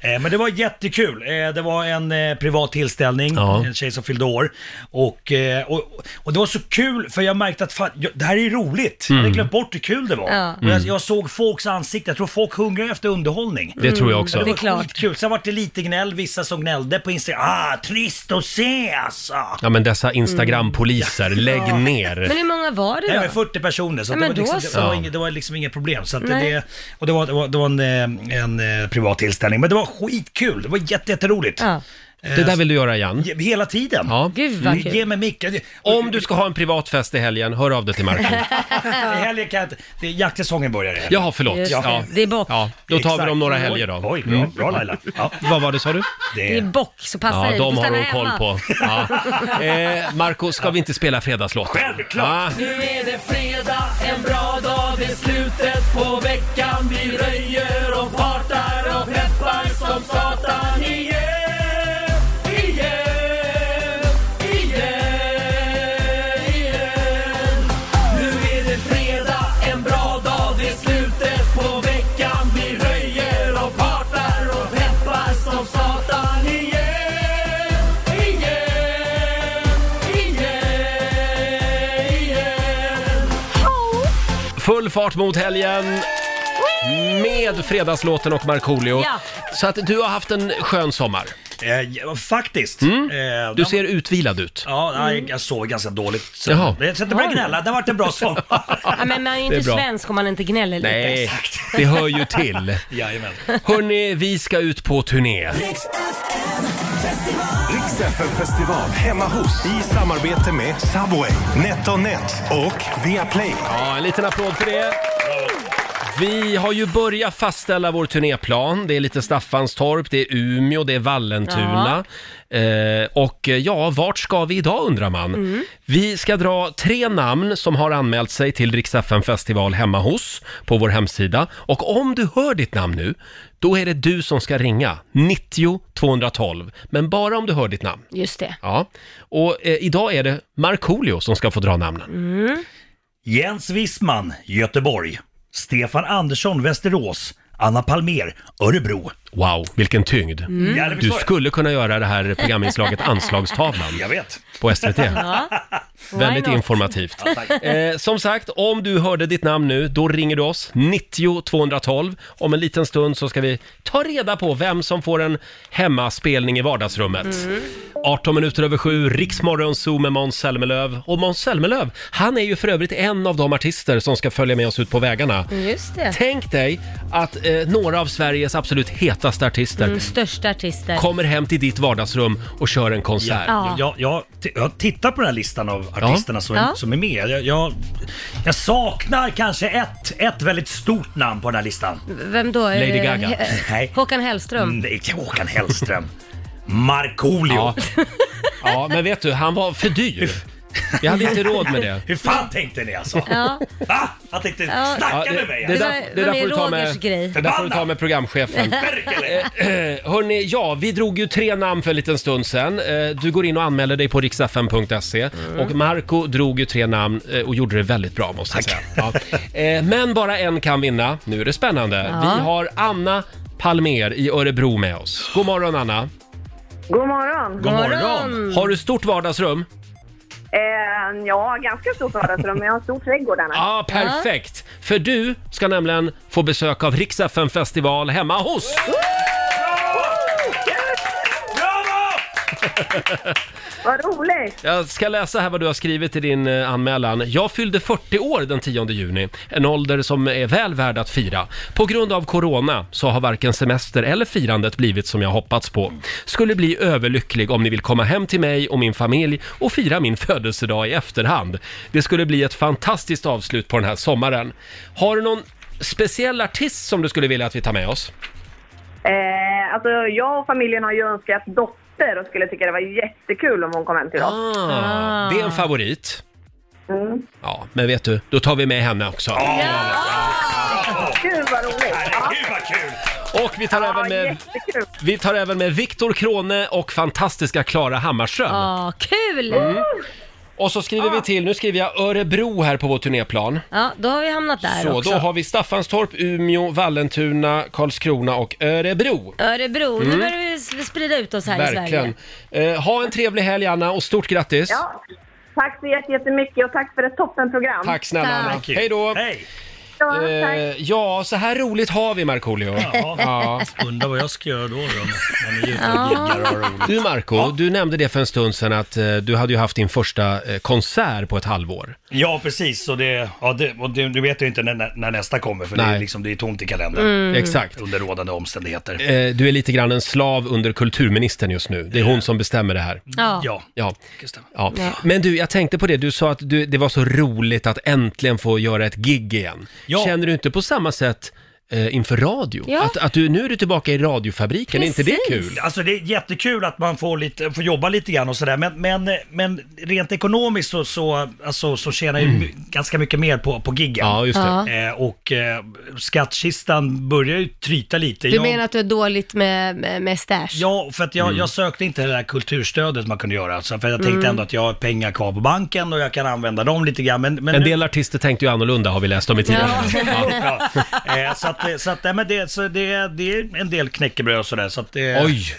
S11: Eh, men det var jättekul. Eh, det var en eh, privat tillställning,
S1: Ja.
S11: en tjej som fyllde år. Och, eh, och, och det var så kul för jag märkte att fan, jag, det här är ju roligt. Jag
S8: Mm.
S11: hade glömt bort hur kul det var.
S3: Ja.
S11: Och jag, jag såg folks ansikten, jag tror folk hungrar efter underhållning.
S1: Det tror jag också.
S11: Mm.
S3: det är klart.
S11: Skitkul. Sen var det lite gnäll, vissa som gnällde på Instagram. Ah, trist att se alltså!
S1: Ja men dessa Instagram-poliser,
S11: Mm.
S1: lägg ner.
S3: Men hur många var
S11: Nej,
S3: det
S11: men
S3: då?
S11: 40 personer, så,
S3: Nej,
S11: det,
S3: men
S11: var
S3: då
S11: liksom,
S3: så.
S11: det, var inget, det var liksom inget problem. Så att det,
S3: Nej.
S11: det- och det var, det var, det var en, eh, en eh, privat tillställning, men det var skitkul. Det var jätte- jätteroligt.
S3: Ja.
S1: Det där vill du göra igen.
S11: Ge- Hela tiden.
S1: Ja.
S3: Gud vad kul.
S11: Ge mig micken.
S1: Om du ska ha en privat fest i helgen, hör av dig till Marco.
S11: I helgen kan jag inte... det är- Jaktsäsongen börjar i helgen.
S1: Jaha, förlåt.
S3: Just det.
S1: Ja.
S3: Det är bock.
S1: Ja, då tar vi
S11: Exakt.
S1: dem några helger då. Mm.
S11: Oj, bra, bra Laila. Ja,
S1: Vad var det sa du?
S3: Det är
S11: det,
S3: bock, så passa
S1: Ja,
S3: dig. Du
S1: de
S3: får
S1: har
S3: stanna
S1: hon koll
S3: hemma.
S1: på. Ja. Eh, Marco, ska vi inte spela fredagslåten?
S11: Självklart.
S1: Ja.
S12: Nu är det fredag, en bra dag, det är slutet på veckan Vi röjer och partar och peppar som satan Igen, igen, igen, igen Nu är det fredag, en bra dag, det är slutet på veckan Vi röjer och partar och peppar som satan Igen, igen, igen, igen
S1: Full fart mot helgen! Med Fredagslåten och Markoolio.
S3: Ja.
S1: Så att du har haft en skön sommar. Mm.
S11: eh, ja, faktiskt. Eh,
S1: Du
S11: den-
S1: ser utvilad ut.
S11: Ja, nej, jag såg ganska dåligt. Så,
S1: Jaha.
S11: jag ska inte börja gnälla, det har varit en bra sommar.
S3: Ja, men man är ju
S1: Det är
S3: inte
S1: bra.
S3: svensk om man inte gnäller lite.
S1: Nej, det hör ju till.
S11: Jajamän.
S1: Hörni, vi ska ut på turné.
S4: Rix FM festival hemma hos i samarbete med Subway, NetOnNet och Viaplay.
S1: Ja, en liten applåd för det. Vi har ju börjat fastställa vår turnéplan. Det är lite Staffanstorp, det är Umeå, det är Vallentuna. Eh, och eh, ja, vart ska vi idag undrar man? Vi ska dra tre namn som har anmält sig till Rix FM festival hemma hos på vår hemsida. Och om du hör ditt namn nu, då är det du som ska ringa. 90 212. Men bara om du hör ditt namn.
S3: Just det.
S1: Ja. Och eh, idag är det Markoolio som ska få dra namnen.
S11: Jens Wissman, Göteborg. Stefan Andersson, Västerås. Anna Palmér, Örebro.
S1: Wow, vilken tyngd.
S11: Ja, det
S1: Mm. Du
S11: förstår jag.
S1: skulle kunna göra det här programinslaget Anslagstavlan
S11: Jag vet.
S1: på SVT.
S3: Ja. Why
S1: Väldigt
S3: not?
S1: informativt.
S11: Ja, tack.
S1: Eh, som sagt, om du hörde ditt namn nu, då ringer du oss, 90 212. Om en liten stund så ska vi ta reda på vem som får en hemmaspelning i vardagsrummet.
S11: Mm.
S1: 18 minuter över sju, Riksmorgon Zoo med Måns Zelmerlöw. Och Måns Zelmerlöw, han
S11: Mm.
S1: är ju för övrigt en av de artister som ska följa med oss ut på vägarna.
S3: Just det.
S1: Tänk dig att eh, eh, några av Sveriges absolut hetaste artister
S3: Mm, största artister.
S1: kommer hem till ditt vardagsrum och kör en konsert.
S3: Ja.
S11: Jag, jag, t- jag tittar på den här listan av artisterna som,
S3: Ja.
S11: som är med. Jag, jag, jag saknar kanske ett, ett väldigt stort namn på den här listan.
S3: Vem då? Är
S11: Lady
S3: det-
S11: Gaga.
S3: He- eh,
S11: Nej.
S3: Håkan Hellström.
S11: Mm, det är Håkan Hellström. Markoolio.
S1: Ja. ja, men vet du, han var för dyr. Vi hade inte råd med det.
S11: Hur fan tänkte ni alltså?
S3: Ja.
S11: Va? Jag tänkte
S3: Ja.
S11: snacka
S1: Ja,
S11: med mig.
S1: det,
S11: alltså.
S1: där, det där får du ta med, det där får du ta med programchefen. Eh, Hörni, ja, vi drog ju tre namn för en liten stund sen. Du går in och anmäler dig på riksfm.se och Marco drog ju tre namn eh, och gjorde det väldigt bra måste jag säga. Ja. Eh, Men bara en kan vinna. Nu är det spännande.
S12: Ja.
S1: Vi har Anna Palmer i Örebro med oss. God morgon Anna!
S7: God morgon.
S1: Har du stort vardagsrum?
S7: Eh, ja, ganska stort vardagsrum, men jag har en stor trädgård annars.
S1: Ja, perfekt! För du ska nämligen få besök av Rix FM festival hemma hos!
S7: Vad roligt!
S1: Jag ska läsa här vad du har skrivit i din eh, anmälan. Jag fyllde 40 år den 10 juni, en ålder som är väl värd att fira. På grund av corona så har varken semester eller firandet blivit som jag hoppats på. Skulle bli överlycklig om ni vill komma hem till mig och min familj och fira min födelsedag i efterhand. Det skulle bli ett fantastiskt avslut på den här sommaren. Har du någon speciell artist som du skulle vilja att vi tar med oss?
S7: Eh, alltså, jag och familjen har ju önskat dotter och skulle tycka det var jättekul om hon kom hem till oss.
S1: Ah, det är en favorit.
S7: Mm.
S1: Ja, men vet du, då tar vi med henne också.
S7: Gud vad roligt! Herregud
S11: vad kul!
S1: Och vi tar även med
S7: Jättekul!
S1: Vi tar även med Viktor Krone och fantastiska Klara Hammarström.
S3: Ja, kul!
S1: Mm. Och så skriver vi till, nu skriver jag Örebro här på vår turnéplan.
S3: Ja, då har vi hamnat där
S1: Så
S3: också.
S1: då har vi Staffanstorp, Umeå, Vallentuna, Karlskrona och Örebro.
S3: Örebro, nu
S1: Mm.
S3: börjar vi s- sprida ut oss här i Sverige.
S1: Verkligen. Eh, ha en trevlig helg Anna och stort grattis!
S7: Ja, tack så jätte- jättemycket och tack för ett toppenprogram.
S1: Tack snälla Anna. Hej då!
S11: Hej.
S7: Ja, tack.
S1: Eh, ja, så här roligt har vi Markoolio.
S11: Ja. Undrar vad jag ska göra då, då när ni är ute och
S1: Ja.
S11: giggar och har roligt.
S1: Du Marco, du nämnde det för en stund sedan att eh, du hade ju haft din första eh, konsert på ett halvår.
S11: Ja, precis. Så det, ja, det, och det, du vet ju inte när, när- när nästa kommer, för det
S1: Nej.
S11: är, liksom, det är tomt i kalendern.
S1: Mm. Exakt.
S11: Under rådande omständigheter.
S1: Eh, Du är lite grann en slav under kulturministern just nu. Det är hon som bestämmer det här.
S3: Ja.
S11: ja.
S1: Ja. ja.
S11: Ja.
S1: Men du, jag tänkte på det. Du sa att du, det var så roligt att äntligen få göra ett gig igen. Känner du inte på samma sätt eh, inför radio?
S11: Ja.
S1: Att, att du, nu är du tillbaka i radiofabriken, är inte det kul?
S11: Alltså det är jättekul att man får, lite, får jobba lite grann och sådär, men, men, men rent ekonomiskt så, så, alltså, så tjänar jag ju my- ganska mycket mer på, på giggen.
S1: Mm. Ja, just det.
S11: Eh, och eh, skattkistan börjar ju tryta lite.
S3: Du
S11: Jag-
S3: menar att du är dåligt med, med, med stash?
S11: Ja, för att jag,
S1: Mm.
S11: jag sökte inte det där kulturstödet man kunde göra. Så för jag tänkte
S3: Mm.
S11: ändå att jag har pengar kvar på banken och jag kan använda dem lite grann. Men, men
S1: en
S11: nu-
S1: del artister tänkte ju annorlunda har vi läst om i tidningarna.
S11: Ja. Eh, så att, eh, så att nej, men det, så det, det är en del knäckebröd och sådär. Så att, det-
S1: Oj!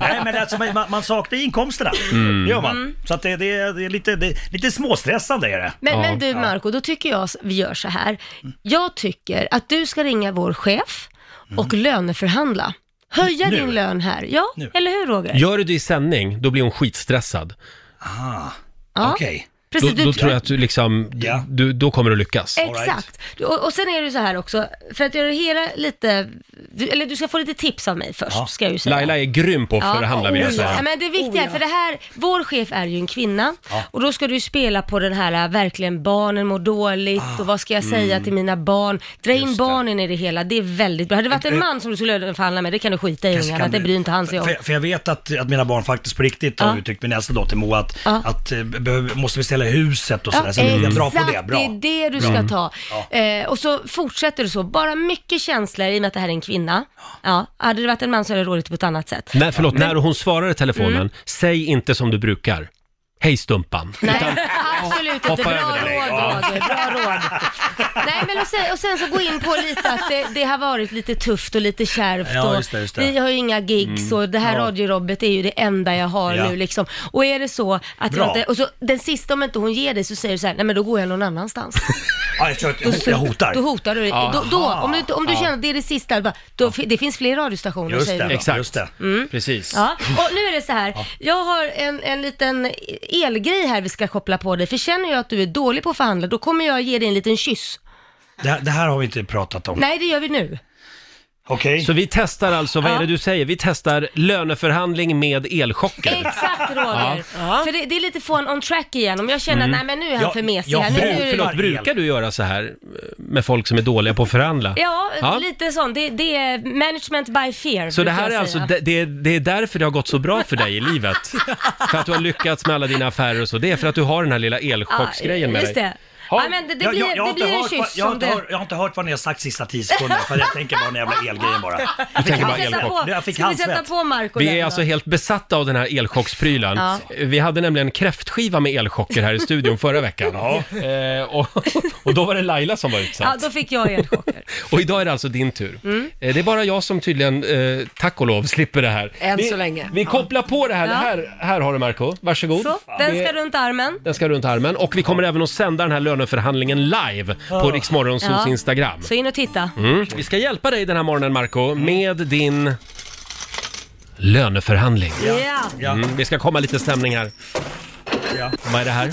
S11: nej, men alltså, man, man saknar inkomsterna.
S1: Mm.
S11: Det gör man. Så att det, det, det är lite, det, lite småstressande är det.
S3: Men, men du Marco, då tycker jag s- vi gör så här.
S11: Mm.
S3: Jag tycker att du ska ringa vår chef och
S11: Mm.
S3: löneförhandla. Höja
S1: Nu?
S3: din lön här. Ja, eller hur Roger?
S1: Gör du det i sändning, då blir hon skitstressad.
S11: Ah,
S3: Ja.
S11: okej.
S3: Precis,
S1: då,
S3: Alltså,
S1: då
S3: du-
S1: tror jag att du liksom, du, då kommer du lyckas.
S3: Exakt. Du- Och, och sen är det så här också, för att göra det hela lite, du, eller du ska få lite tips av mig först, ska jag ju säga.
S1: Laila är grym på att förhandla vill jag
S3: Ja,
S1: säga.
S3: men det viktiga, för det här, vår chef är ju en kvinna
S1: Ja.
S3: och då ska du ju spela på den här, verkligen barnen mår dåligt och vad ska jag säga
S1: mm.
S3: till mina barn? Dra in barnen i det hela, det är väldigt bra. Hade det varit en man som du skulle löneförhandla med, det kan du skita i
S11: Kanske
S3: ungarna,
S11: kan
S3: det
S11: du-
S3: bryr inte han sig om.
S11: För, för jag vet att, att mina barn faktiskt på riktigt har
S3: Ja.
S11: uttryckt min äldsta dotter Moa att,
S3: Ja.
S11: att eh, behöver- måste vi ställa huset och sådär.
S3: Ja,
S11: så jag är bra på det.
S3: exakt,
S11: Bra.
S3: det är det du
S11: Bra.
S3: ska
S11: Mm.
S3: ta. Eh, och så fortsätter du så, bara mycket känslor i och med att det här är en kvinna. Ja, hade det varit en man så hade det rådigt på ett annat sätt.
S1: Nej, förlåt,
S3: Men-
S1: när hon svarar i telefonen,
S3: Mm.
S1: säg inte som du brukar. Hej stumpan.
S3: Nej, absolut inte.
S1: Hoppa
S3: Bra
S1: över
S3: råd,
S1: det. Ja.
S3: Roger. Bra råd. Nej, men och sen, och sen så gå in på lite att det, det har varit lite tufft och lite kärvt.
S12: Ja,
S3: och
S12: just det, just det.
S3: Vi har ju inga gigs
S12: Mm.
S3: och det här
S12: Ja.
S3: radiorobbet är ju det enda jag har
S12: Ja.
S3: nu liksom. Och är det så att jag
S11: Bra.
S3: inte, och så den sista om inte hon ger dig så säger du så här, nej men då går jag någon annanstans.
S11: Ja, jag, tror att jag, jag hotar.
S3: Då hotar du.
S11: Aha.
S3: Då, då, om du, om du
S11: Ja.
S3: känner att det är det sista, bara, då, det finns fler radiostationer
S1: Just
S3: säger
S1: det,
S3: du.
S1: exakt.
S3: Mm.
S1: Precis.
S3: Ja, och nu är det så här. Jag har en, en liten elgrej här vi ska koppla på dig. För känner jag att du är dålig på att förhandla, då kommer jag ge dig en liten kyss.
S11: Det, här- det här har vi inte pratat om.
S3: Nej, det gör vi nu.
S11: Okej.
S1: Så vi testar alltså, vad är det du säger? Vi testar löneförhandling med elchocker.
S3: Exakt Roger. För det, det är lite få en on track igen. Om jag känner
S1: Mm.
S3: att nej men nu är han
S1: Ja,
S3: för mesig
S1: ja,
S3: här. Nu,
S1: bru-
S3: nu,
S1: förlåt, brukar du göra så här eh, med folk som är dåliga på att förhandla?
S3: Ja, lite sån. Det, det är management by fear.
S1: Så det
S3: brukar
S1: här
S3: jag
S1: är alltså,
S3: säga.
S1: det, det är- det är därför det har gått så bra för dig i livet? För att du har lyckats med alla dina affärer och så? Det är för att du har den här lilla elchocksgrejen med
S3: just
S1: dig?
S3: det.
S1: Ja.
S3: Ja, men det, det
S11: Jag-
S3: blir,
S11: jag- jag har
S3: det
S11: inte
S3: blir en
S11: hört vad-
S3: kyss
S11: jag har
S3: om
S11: inte
S3: det...
S11: hört- Jag har inte hört vad ni har sagt sista tio sekunderna, för jag tänker bara den jävla elgrejen bara.
S1: Jag tänker bara
S3: Ska vi sätta
S1: elchock.
S3: på-
S11: Jag fick
S3: Ska vi
S11: handsvett.
S3: sätta på Marco
S1: Vi
S3: den
S1: är
S3: då?
S1: alltså helt besatta av den här elchocksprylen.
S3: Ja.
S1: Vi hade nämligen kräftskiva med elchocker här i studion förra veckan. Eh, och, och då var det Laila som var
S3: Ja,
S1: utsatt.
S3: då fick jag
S1: Oh,
S3: elchock.
S1: Och idag är det alltså din tur.
S3: Mm.
S1: Eh, Det är bara jag som tydligen, eh, tack och lov, slipper det här.
S3: Än
S1: vi,
S3: så länge.
S1: Vi kopplar på det här. Det
S3: Ja.
S1: här, här har du Marco. varsågod.
S3: Så, den
S1: Det-
S3: ska runt armen.
S1: Den ska runt armen och vi kommer även att sända den här löneförhandlingen live på Riksmorgonsols
S3: Ja.
S1: Instagram.
S3: Så in och titta.
S1: Mm. Vi ska hjälpa dig den här morgonen Marco med din löneförhandling.
S3: Ja. Ja.
S1: Mm. Vi ska komma lite stämning här.
S11: Ja.
S1: Vad är det här?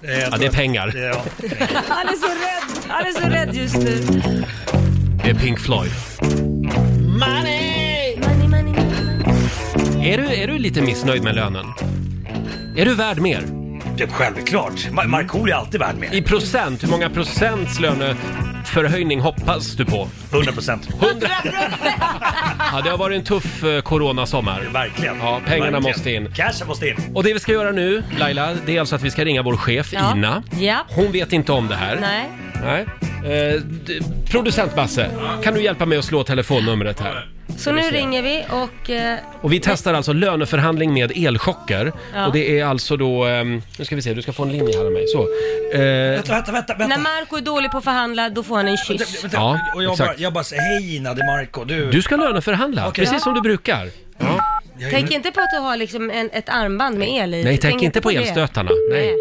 S1: Ja, det är pengar.
S3: Han är så rädd. Han är så rädd just nu.
S1: Det är Pink Floyd.
S3: Money! Money, money,
S1: Är du, är du lite missnöjd med lönen? Är du värd mer?
S11: Det är självklart. Ma- Markoolio är alltid värd mer.
S1: I procent, hur många procents löneförhöjning hoppas du på?
S11: 100 procent.
S1: 100 Ja, det har varit en tuff eh, coronasommar.
S11: Verkligen.
S1: Ja, pengarna
S11: Verkligen.
S1: måste in.
S11: Cashen måste in.
S1: Och det vi ska göra nu, Laila, det är alltså att vi ska ringa vår chef,
S3: Ja.
S1: Ina.
S3: Ja.
S1: Hon vet inte om det här.
S3: Nej.
S1: Nej. Eh, d- producent Basse, kan du hjälpa mig att slå telefonnumret här?
S3: Så nu ringer vi och... Eh,
S1: Och vi testar alltså löneförhandling med elchocker.
S3: Ja.
S1: Och det är alltså då, ehm, nu ska vi se, du ska få en linje här av mig. Så. Eh,
S11: Vänta, vänta, vänta.
S3: när Marco är dålig på att förhandla, då får han en kyss.
S11: Vänta,
S1: Ja,
S11: och jag, bara,
S1: exakt.
S11: jag bara säger hej Ina, det är Marco. Du...
S1: du ska löneförhandla,
S11: Okej.
S1: precis som du brukar. Ja.
S3: Tänk inte på att du har liksom en, ett armband med el i.
S1: Nej, tänk inte på
S3: det.
S1: elstötarna. Nej.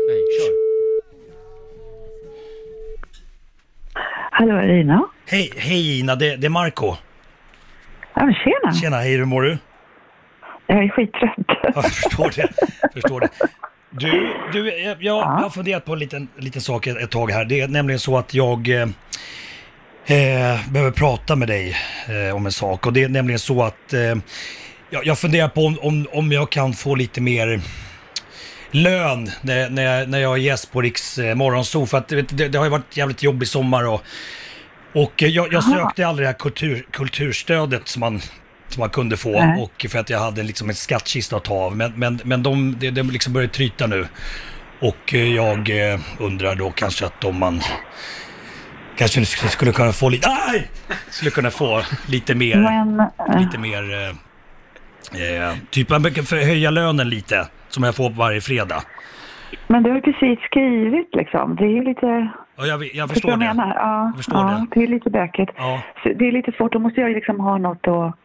S13: Hallå, är det Ina?
S11: Hej, hej Ina, det, det är Marco.
S13: Ja, men tjena.
S11: Tjena, hej hur mår du?
S13: Jag är skittrött.
S11: Jag förstår det. förstår det. Du, du jag, jag, jag har funderat på en liten, liten sak ett, ett tag här. Det är nämligen så att jag eh, eh, behöver prata med dig eh, om en sak. Och det är nämligen så att eh, jag, jag funderar på om, om, om jag kan få lite mer lön när, när, jag, när jag är gäst på Riks eh, morgonzoo. För att du vet, det, det har ju varit jävligt jobbig sommar och, och eh, jag, jag
S13: Aha.
S11: sökte aldrig det här kultur, kulturstödet som man, som man kunde få.
S13: Nej.
S11: Och för att jag hade liksom en skattkista att ta av. Men, men, men de, de, de liksom börjar tryta nu. Och eh, jag eh, undrar då kanske att om man kanske nu sk- skulle kunna få lite, aj! Skulle kunna få lite mer,
S13: Men, eh,
S11: lite mer, eh, eh, typ man brukar förhöja lönen lite, som jag får varje fredag.
S13: men du har ju precis skrivit liksom. Det är ju lite...
S11: Ja, jag, vet- jag förstår
S13: Förstår du vad
S11: det.
S13: jag menar? Ja, jag
S11: förstår
S13: ja, det. är lite bökigt.
S11: Ja.
S13: Så Det är lite svårt, då måste jag ju liksom ha något att,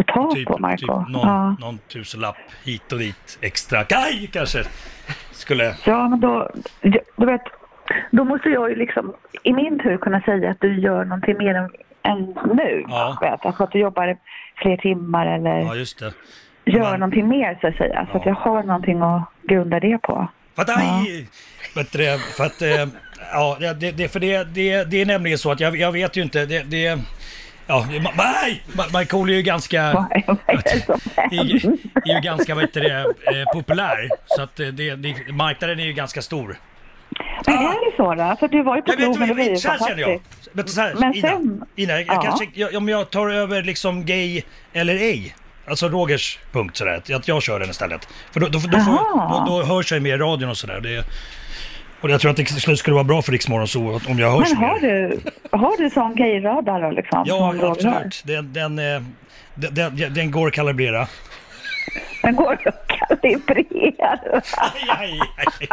S13: att ta
S11: Typ,
S13: på,
S11: typ
S13: Marco.
S11: någon,
S13: ja.
S11: någon tusenlapp hit och dit extra. Aj, kanske skulle...
S13: ja, men då, ja, du vet, då måste jag ju liksom i min tur kunna säga att du gör någonting mer än, än nu.
S11: Ja.
S13: Vet, alltså att du jobbar fler timmar eller
S11: Ja, just det.
S13: gör någonting mer så att säga. Så att jag har någonting att grunda det på.
S11: För att, aj! Vet du det, För att, eh, ja, det, det, för det, det, det är nämligen så att jag, jag vet ju inte, det, det Ja, ma- nej! Ma- Markoolio är ju ganska... är, är ju ganska, vad heter det, eh, populär. Så att eh, det, det, marknaden är ju ganska stor.
S13: Men är det så då? För du var ju på
S11: Jag vet,
S13: krogen och
S11: jag
S13: det var ju
S11: vet, så här känner jag.
S13: fantastiskt.
S11: Men, så här,
S13: Men
S11: Ina,
S13: sen-
S11: Ina jag,
S13: Ja.
S11: jag kanske, jag, om jag tar över liksom gay eller ej. Alltså Rogers punkt sådär, att jag- jag kör den istället. För då, då, då, får, då,
S13: Jaha.
S11: då hörs jag ju mer i radion och sådär. Det, och jag tror att det skulle- skulle vara bra för Riksmorgon så om jag hörs
S13: Men
S11: mer.
S13: har du, har du sån gayradar då liksom?
S11: Ja,
S13: Som du har?
S11: absolut. Den, den, eh, den, den, den går att kalibrera.
S13: Den går att kalibrera.
S11: Aj, aj, aj.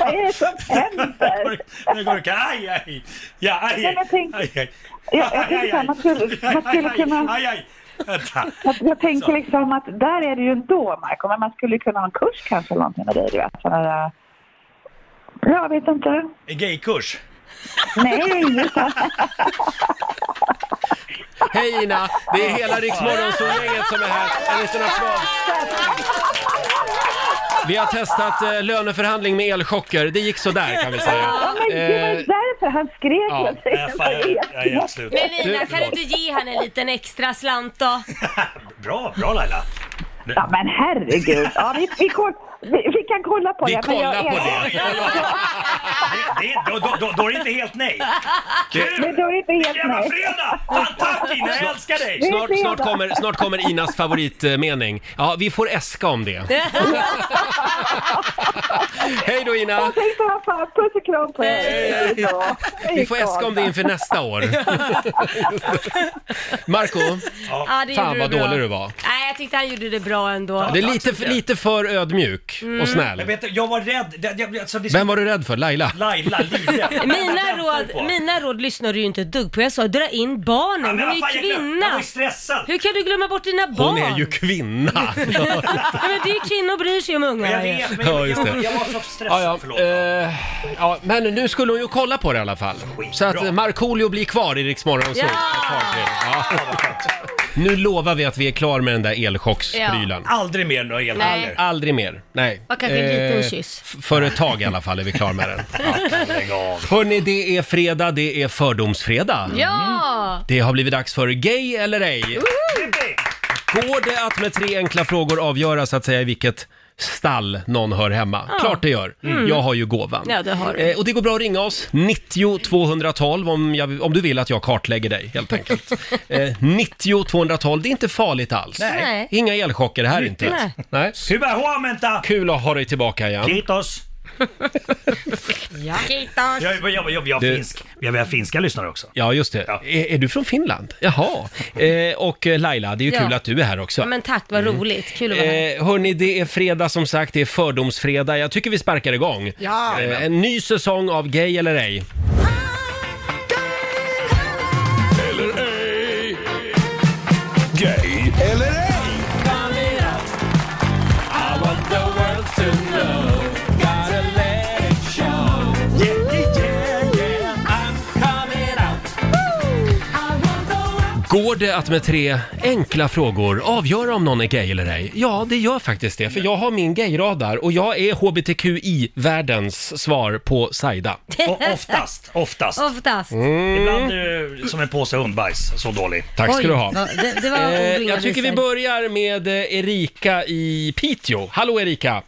S13: Vad är det som händer?
S11: Den går att aj, aj. Ja, aj,
S13: Nej,
S11: aj.
S13: men tänk-
S11: aj, aj.
S13: Jag, jag tänker så här, man skulle, man skulle kunna...
S11: Aj, aj. Vänta.
S13: att Jag tänker
S11: Så.
S13: liksom att där är det ju ändå, Marco, men man skulle kunna ha en kurs kanske eller någonting med dig, du vet. Sådana där... eh, Jag vet inte.
S11: En gaykurs.
S13: Nej,
S1: Hej Ina! Det är hela Riksmorgonsolgänget som är här. En liten applåd. Vi har testat eh, löneförhandling med elchocker. Det gick sådär kan vi säga.
S13: Ja, men det var ju
S1: Eh,
S13: därför han skrek
S1: Ja,
S13: hela tiden.
S11: Nej, Äh, fan, jag, jag är helt slut.
S3: Men Lina, kan du
S11: förlåt.
S3: inte ge henne en liten extra slant då?
S11: Bra, bra Laila.
S13: Ja, men herregud. Ja, vi, vi, koll, vi, vi kan kolla på
S11: Vi
S13: det. men jag
S11: kollar
S13: är-
S11: på det. Det, det, då, då, då, då är det inte helt nej. Kul!
S13: Men då är det inte helt
S11: Jävla
S13: nej.
S11: fredag! Fan tack Ina, jag älskar dig!
S1: Snart, snart, kommer, snart kommer Inas favoritmening. Ja, vi får äska om det. Hej då Ina!
S13: Tack så här fan. Puss och kram på er. Hej då.
S1: Vi får äska om det inför nästa år. Marco,
S3: Ja, det
S1: fan
S3: gjorde
S1: vad
S3: du bra.
S1: dålig du var.
S3: Nej, jag tyckte han gjorde det bra ändå.
S1: Det är lite, lite för ödmjuk
S3: Mm.
S1: och
S11: Jag,
S1: snäll.
S11: vet, inte, jag var rädd. Det, jag, alltså, det,
S1: Vem var du rädd för? Laila?
S11: Laila, livrädd.
S3: Mina råd, mina råd lyssnar du ju inte ett dugg på. Jag sa dra in barnen, hon är
S11: vad fan,
S3: ju
S11: jag glömde. Jag var
S3: kvinna.
S11: ju stressad.
S3: Hur kan du glömma bort dina barn?
S1: Hon är ju kvinna!
S3: Nej, men det är ju kvinnor bryr sig om ungarna
S11: Jag
S3: ju.
S11: vet, men
S1: Ja,
S11: jag,
S1: just det.
S11: jag, jag var så stressad.
S1: Ja, ja, eh, ja, men nu skulle hon ju kolla på det i alla fall. Så att eh, Markoolio blir kvar i Rix Morgon Zoo
S12: Ja!
S1: ett tag till. ja. Nu lovar vi att vi är klar med den där elchocksprylen.
S11: Ja. Aldrig mer några
S1: elchocker.
S8: Eh.
S11: elchocker.
S1: Aldrig mer, nej.
S11: Och kanske en liten
S3: kyss.
S1: För ett tag i alla fall är vi klara med den.
S11: Lägg av.
S1: Hörni, det är fredag, det är fördomsfredag.
S3: Ja!
S1: Det har blivit dags för Gay eller ej. Går det att med tre enkla frågor avgöra så att säga i vilket stall någon hör hemma?
S3: Ja.
S1: Klart det gör.
S3: Mm.
S1: Jag har ju gåvan.
S3: Ja, det har du.
S1: Eh, och det går bra att ringa oss, 90 212 om, jag, om du vill att jag kartlägger dig helt enkelt. eh, 90 212, det är inte farligt alls.
S11: Nej. Nej.
S1: Inga elchocker här inte.
S11: Nej.
S1: Nej. Kul att ha dig tillbaka igen.
S11: Kitos!
S3: Kitos!
S11: Jag, jag, jag, jag, jag,
S1: Du-
S11: finsk. jag, jag har finska lyssnare också.
S1: Ja, just det. Är, är du från Finland? Jaha. Eh, och eh, Laila, det är ju
S3: Ja.
S1: kul att du är här också.
S3: Men tack, vad roligt. Kul att vara här.
S1: Mm. Eh, hörni, det är fredag som sagt, det är fördomsfredag. Jag tycker vi sparkar igång.
S3: Ja.
S1: Eh, en ny säsong av Gay eller ej.
S12: Eller ej.
S4: Gay eller ej?
S12: Call it up. I want the world to know. Gotta let it show. Yeah, yeah, yeah, yeah. I'm coming out. I want the
S1: Går det att med tre enkla frågor avgöra om någon är gay eller ej? Ja, det gör faktiskt det, för jag har min gayradar och jag är hbtqi-världens svar på Saida.
S11: O- oftast, oftast.
S3: Oftast.
S1: Mm.
S11: Ibland eh, som en påse hundbajs, så dålig.
S1: Tack ska
S11: Oj.
S1: du ha.
S11: Ja, det- det var
S1: Eh,
S11: orimliga
S1: jag tycker vi
S11: visor.
S1: börjar med eh, Erika i Piteå. Hallå Erika!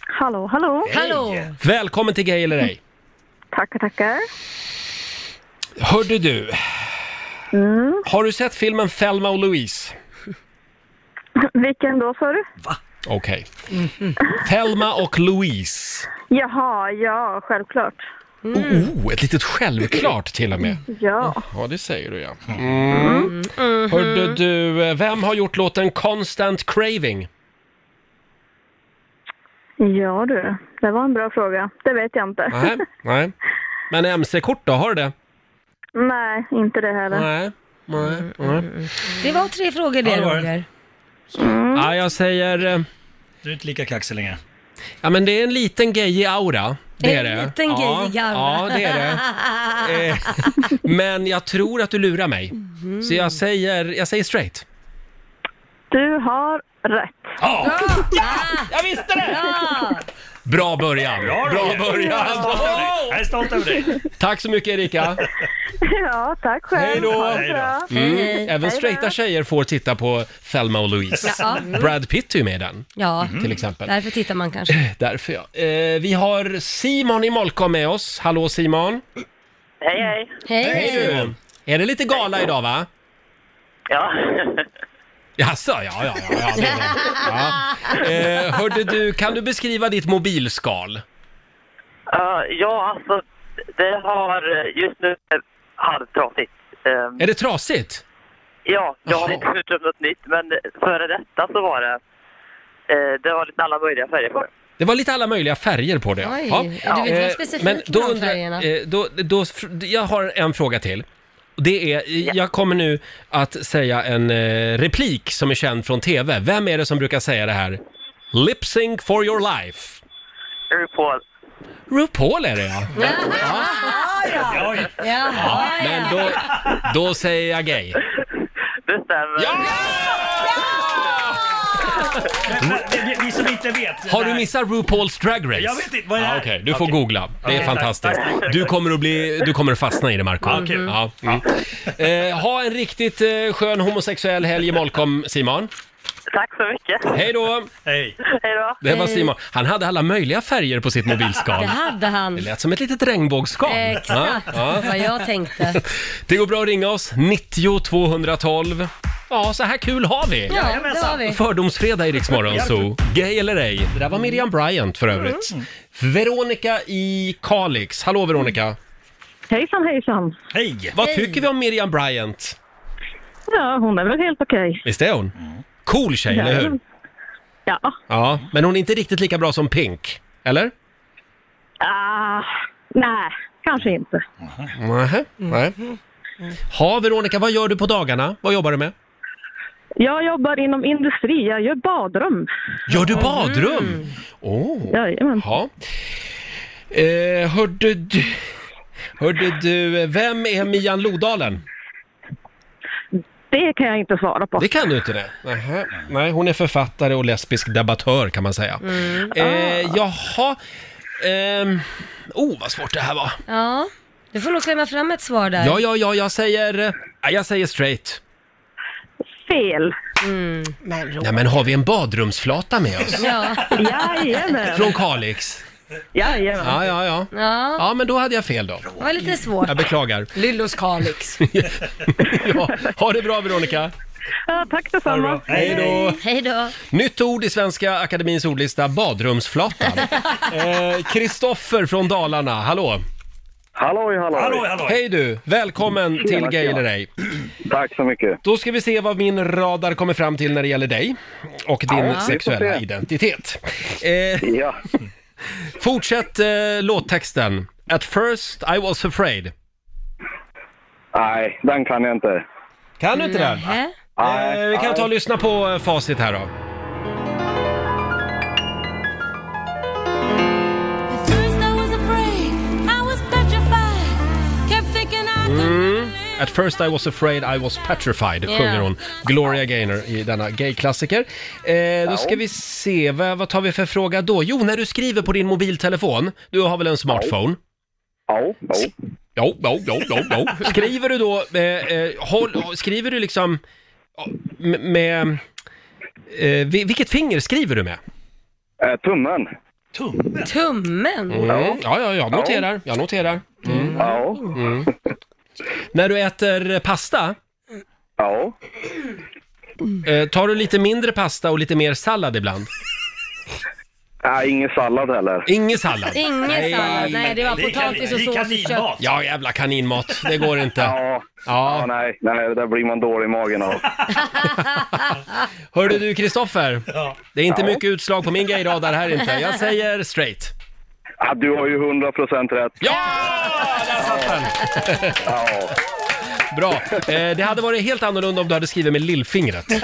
S13: Hallå, hallå.
S3: Hallå.
S1: Välkommen till Gay eller ej.
S13: Tackar, tackar.
S1: Hörde du, har du sett filmen Thelma och Louise?
S13: Vilken då, sa du?
S1: Okej. Thelma och Louise.
S13: Jaha, ja, självklart.
S1: Oh, oh, ett litet självklart till och med.
S13: Ja.
S1: Ja, det säger du ja. Mm.
S3: Mm-hmm.
S1: Hörde du, eh, vem har gjort låten Constant Craving?
S13: Ja du, det var en bra fråga. Det vet jag inte.
S1: Nej, nej. Men MC-kort då, har du det?
S13: Nej, inte det heller.
S1: Nej, nej, nej.
S3: Mm. Det var tre frågor
S11: Ja,
S3: det,
S11: det var det.
S3: Roger.
S1: Ja, jag säger... eh,
S11: Du är inte lika kaxig längre.
S1: Ja, men det är en liten gayig aura. Det är det.
S3: En liten
S1: ja,
S3: gay gammal.
S1: Ja, det är det. Eh, men jag tror att du lurar mig.
S3: Mm-hmm.
S1: Så jag säger, jag säger straight.
S13: Du har rätt.
S1: Ja,
S12: Jag visste det!
S1: bra början.
S11: Bra,
S1: Bra
S11: Roger.
S1: början.
S11: Jag är stolt över dig. Jag är stolt över dig.
S1: Tack så mycket Erika.
S13: Ja, tack själv.
S1: Hej då.
S13: Ha det bra.
S1: Mm. Även straighta tjejer får titta på Thelma och Louise.
S3: Ja.
S1: Brad Pitt är ju med i den.
S3: Ja,
S1: Till exempel.
S3: därför tittar man kanske.
S1: Därför ja. Eh, vi har Simon i Molkom med oss. Hallå Simon.
S14: Hej, hej.
S1: du. Är det lite gala idag va?
S14: Ja.
S1: Jaså, ja, ja, ja. ja, det är det. ja. Eh, hörde du, kan du beskriva ditt mobilskal?
S14: Eh, ja, alltså, det har eh, just nu eh, halvtrasigt. Ehm,
S1: Är det trasigt?
S14: ja, jag har inte hunnit upp något nytt, men före detta så var det... eh, det var lite alla möjliga färger på det.
S1: Det var lite alla möjliga färger på det.
S14: Oj,
S1: Ja.
S14: du vet vara
S1: Eh,
S14: specifik
S1: Men då
S14: med de
S1: undrar,
S14: färgerna.
S1: eh, då, då, fr- jag har en fråga till. Det är, eh, jag kommer nu att säga en eh, replik som är känd från TV. Vem är det som brukar säga det här? Lip sync for your life.
S14: RuPaul.
S1: RuPaul är det ja.
S12: Ja, ja.
S1: ja men då, då säger jag gay.
S14: Det stämmer.
S1: Ja!
S11: Men, men, vi, vi som inte inte vet.
S1: Har du
S11: Nej.
S1: missat RuPaul's Drag Race?
S11: Jag vet inte, vad är det
S1: ah,
S11: här?
S1: okej. Du får
S11: Okej.
S1: googla. Det är
S11: Okej, tack,
S1: fantastiskt.
S11: tack.
S1: Du kommer att bli, du kommer att fastna i det Marco.
S11: Okej.
S1: Ja, mm. eh, ha en riktigt eh, skön homosexuell helg i Molkom, Simon.
S14: Tack så mycket.
S1: Hej då!
S11: Hej.
S14: Hej då.
S1: Det var Simon. Han hade alla möjliga färger på sitt mobilskal.
S3: Det hade han.
S1: Det lät som ett litet regnbågsskal.
S3: Exakt
S1: Ja, ja.
S3: vad jag tänkte.
S1: Det går bra att ringa oss, 90 212. Ja, så här kul har vi!
S3: Ja, det har vi.
S1: Fördomsfredag i Rix Morgon Zoo. Gay eller ej? Det där var Miriam Bryant för övrigt. Veronica i Kalix. Hallå Veronica!
S15: Hejsan hejsan.
S1: Mm. Hej! Vad tycker vi om Miriam Bryant?
S15: Ja, hon är väl helt okej.
S1: Visst är hon? Cool tjej, eller hur?
S15: Ja.
S1: Ja, men hon är inte riktigt lika bra som Pink, eller?
S15: Ah, nej, kanske inte.
S1: Nähä, nej. Ha Veronica, vad gör du på dagarna? Vad jobbar du med?
S15: Jag jobbar inom industri. Jag gör badrum.
S1: Gör du badrum? Åh!
S15: Jajamän.
S1: Mm. Ja. Eh, hörde du... Hörde du, eh, vem är Mian Lodalen?
S15: Det kan jag inte svara på.
S1: Det kan du inte det? Nähä. Nej, hon är författare och lesbisk debattör kan man säga.
S3: Mm.
S1: Eh, jaha. Ehm, oh, vad svårt det här var.
S3: Ja, du får nog klämma fram ett svar där.
S1: Ja, ja, ja, jag säger... eh, Jag säger straight.
S15: Fel.
S3: Mm.
S1: Nej, men har vi en badrumsflata med oss?
S3: Ja.
S15: Jajamän.
S1: Från Kalix?
S15: Jajamän.
S1: Ja, ja, ja.
S3: Ja.
S1: Ja, men då hade jag fel då.
S3: Det var lite svårt.
S1: Jag beklagar.
S2: Lyllos Kalix.
S1: ja, ha det bra Veronica.
S15: Ja, tack detsamma.
S1: Hej då.
S3: Hej då.
S1: Nytt ord i Svenska Akademins ordlista, badrumsflatan. Kristoffer från Dalarna, hallå!
S16: Halloj, halloj!
S1: Hej du! Välkommen
S16: Tjena,
S1: till Gay
S16: tjena.
S1: eller ej.
S16: Tack så mycket.
S1: Då ska vi se vad min radar kommer fram till när det gäller dig och din
S16: Ja, vi får
S1: sexuella
S16: se.
S1: identitet. ja. Fortsätt eh, låttexten. At first I was afraid.
S16: Nej, den kan jag inte.
S1: Kan du inte den? Eh, vi kan
S16: Mm. nej.
S1: ta och lyssna på eh, facit här då. Mm. At first I was afraid I was petrified,
S12: Yeah.
S1: sjunger hon. Gloria Gaynor i denna gay-klassiker. Eh, då ska vi se, vad, vad tar vi för fråga då? Jo, när du skriver på din mobiltelefon, du har väl en smartphone?
S16: Ja, ja.
S1: Jo, jo, jo, jo, jo. Skriver du då, eh, eh, håll, skriver du liksom ja, med, med eh, vi- vilket finger skriver du med?
S16: Eh, tummen.
S1: Tummen?
S3: Tummen?
S1: Mm. Ja, ja, jag noterar, jag noterar. Mm. Mm. När du äter pasta,
S16: Ja.
S1: eh, tar du lite mindre pasta och lite mer sallad ibland?
S16: Nej, Äh, ingen sallad heller.
S1: Ingen sallad?
S3: Ingen sallad. Nej, det var
S12: Det är
S3: potatis
S12: kan-
S3: och
S12: det är
S3: sås och kött.
S1: Ja, jävla kaninmat. Det går inte.
S16: Ja.
S1: Ja.
S16: nej, nej, där blir man dålig i magen av.
S1: Hörde du Kristoffer? Det är inte
S16: Ja.
S1: mycket utslag på min gayradar här inte. Jag säger straight.
S16: Ja, du har ju 100% rätt.
S1: Ja! Bra. Eh, det hade varit helt annorlunda om du hade skrivit med lillfingret på
S16: Ja,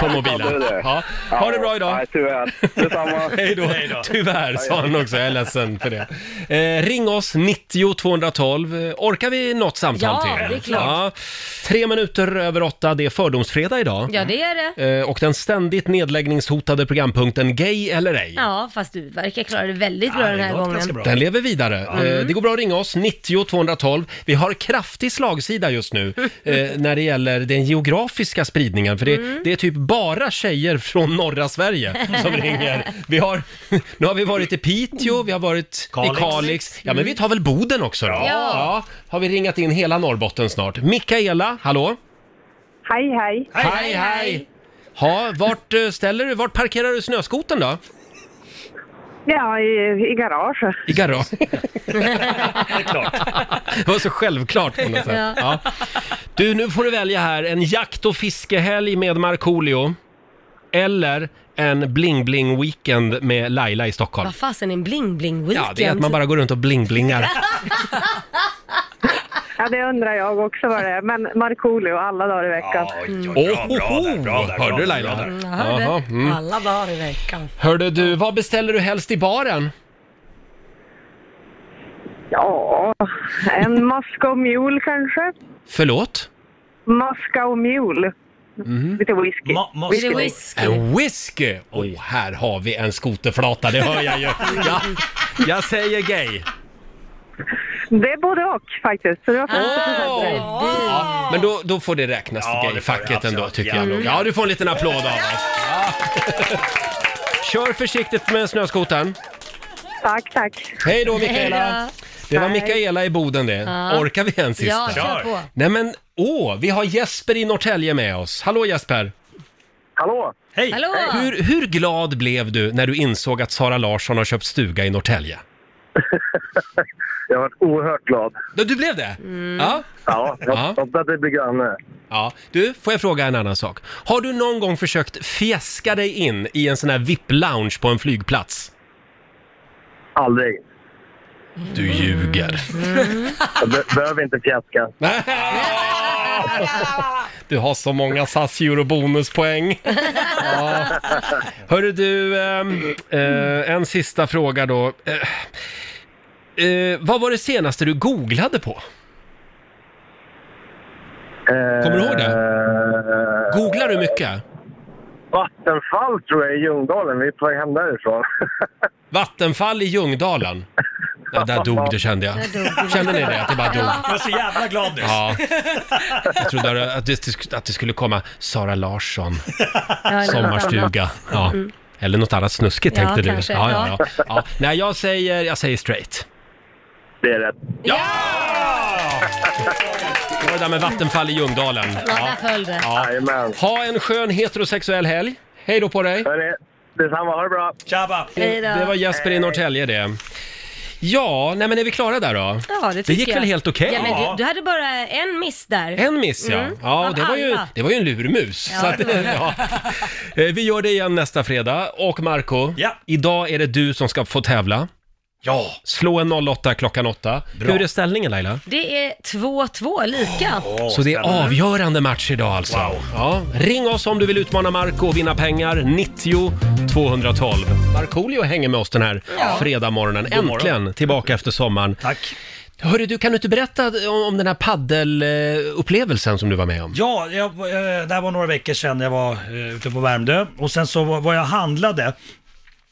S16: det är
S1: mobilen.
S16: det.
S1: Ja. Ha det bra idag.
S16: Nej, tyvärr. Detsamma.
S1: Hej då. Tyvärr sa han också, jag är ledsen för det. Eh, ring oss, 90 212. Eh, Orkar vi något samtal
S3: Ja,
S1: till?
S3: det är klart.
S1: Tre minuter över åtta, det är fördomsfredag idag.
S3: Ja, det är det.
S1: Eh, och den ständigt nedläggningshotade programpunkten Gay eller ej.
S3: Ja, fast du verkar klara det väldigt bra den här gången.
S1: Den lever vidare. Eh, Det går bra att ringa oss, 90 212. Vi har kraftig slagsida just nu eh, när det gäller den geografiska spridningen. För det, det är typ bara tjejer från norra Sverige som ringer. Vi har, nu har vi varit i Piteå, vi har varit
S11: Kalix.
S1: i Kalix. Ja, men vi tar väl Boden också då.
S11: Ja.
S1: Har vi ringat in hela Norrbotten snart. Mikaela, hallå?
S17: Hej, hej.
S1: Hej, hej. Ja, vart eh, ställer du, vart parkerar du snöskoten då?
S17: Ja, i, i garaget.
S1: I garage? Det var så självklart på något sätt. Ja.
S17: Ja.
S1: Du, nu får du välja här en jakt och fiskehelg med Markoolio eller en bling-bling-weekend med Laila i Stockholm.
S3: Vad fasen är en bling-bling-weekend?
S1: Ja, det är att man bara går runt och bling-blingar.
S17: Ja, det undrar jag också vad det är. Men Markoolio, alla dagar i veckan.
S1: Ohoho! Hörde du Laila där?
S17: Jag
S2: hörde.
S1: Jaha, mm.
S2: Alla dagar i veckan.
S1: Hörde du, vad beställer du helst i baren?
S17: Ja, en Moscow Mule kanske?
S1: Förlåt?
S17: Moscow Mule.
S1: Mhm.
S17: Lite whisky.
S1: Lite En whisky! Mm. Oj, här har vi en skoterflata, det hör jag ju. Jag, jag säger gay.
S17: Det är både och faktiskt. Så det var 50
S1: Ja, men då, då får det räknas till gayfacket ändå, tycker jag. nog. Ja, du får en liten applåd av oss. Kör försiktigt med snöskotern.
S17: Tack, tack.
S1: Hej då, Mikaela. Det var
S17: Hej.
S1: Mikaela i Boden det.
S17: Ja.
S1: Orkar vi en sista?
S17: Ja, kör på.
S1: Nej men, åh, vi har Jesper i Norrtälje med oss. Hallå Jesper!
S18: Hallå!
S1: Hej!
S18: Hallå.
S1: Hur, hur glad blev du när du insåg att Sara Larsson har köpt stuga i Norrtälje?
S18: Jag har varit oerhört glad.
S1: Du blev det? Ja.
S18: Ja, jag
S1: Ja.
S18: hoppas att det blir
S16: eh,
S18: granne.
S1: Ja, du, får jag fråga en annan sak? Har du någon gång försökt fjäska dig in i en sån här VIP-lounge på en flygplats?
S18: Aldrig.
S1: Du ljuger.
S18: Jag be- behöver inte fjäska.
S1: Du har så många sas och bonuspoäng. Ja. Hörru du, ehm, eh, en sista fråga då. Eh, eh, vad var det senaste du googlade på? Kommer du ihåg det? Googlar du mycket?
S18: Vattenfall tror jag i Ljungdalen. Vi är på väg hem därifrån.
S1: Vattenfall i Ljungdalen. Nej, där dog det kände jag. Kände ni det? Att det bara dog?
S11: Jag är så jävla glad nu.
S1: Ja. Jag trodde att det, att det skulle komma Sara Larsson, sommarstuga. Ja. Eller något annat snuskigt
S12: Ja,
S1: tänkte du.
S12: kanske.
S1: Ja, ja, ja. ja. Nej, jag säger, jag säger straight.
S18: Det är rätt.
S1: Det var det där med Vattenfall i Ljungdalen.
S12: Ja, där föll det.
S1: Ja. Ha en skön heterosexuell helg. Hej då på dig.
S18: Detsamma, ha det bra.
S11: Tjaba.
S1: Det, det var Jesper i Norrtälje det. Ja, nej men är vi klara där då?
S3: Ja, det tycker
S1: gick
S3: jag.
S1: väl helt okej?
S3: Ja, men du, du hade bara en miss där.
S1: En miss ja.
S3: Mm.
S1: Ja,
S3: Av
S1: det var, ju,
S3: alla.
S1: det var ju en lurmus.
S3: Ja,
S1: så att,
S3: det var det.
S1: ja. Eh, Vi gör det igen nästa fredag. Och Marco, idag är det du som ska få tävla. Ja! Slå en 08 klockan 8. Hur är ställningen Laila?
S3: Det är 2-2 lika.
S1: Så det är avgörande match idag alltså. Ja. Ring oss om du vill utmana Marco och vinna pengar. 90 212. Markoolio hänger med oss den här
S12: Ja.
S1: fredagmorgonen.
S12: God morgon.
S1: Äntligen tillbaka efter sommaren. Tack. Hörru, du kan du inte berätta om- om den här paddelupplevelsen som du var med om?
S11: Ja, jag, eh, det här var några veckor sedan jag var eh, ute på Värmdö och sen så var var jag handlade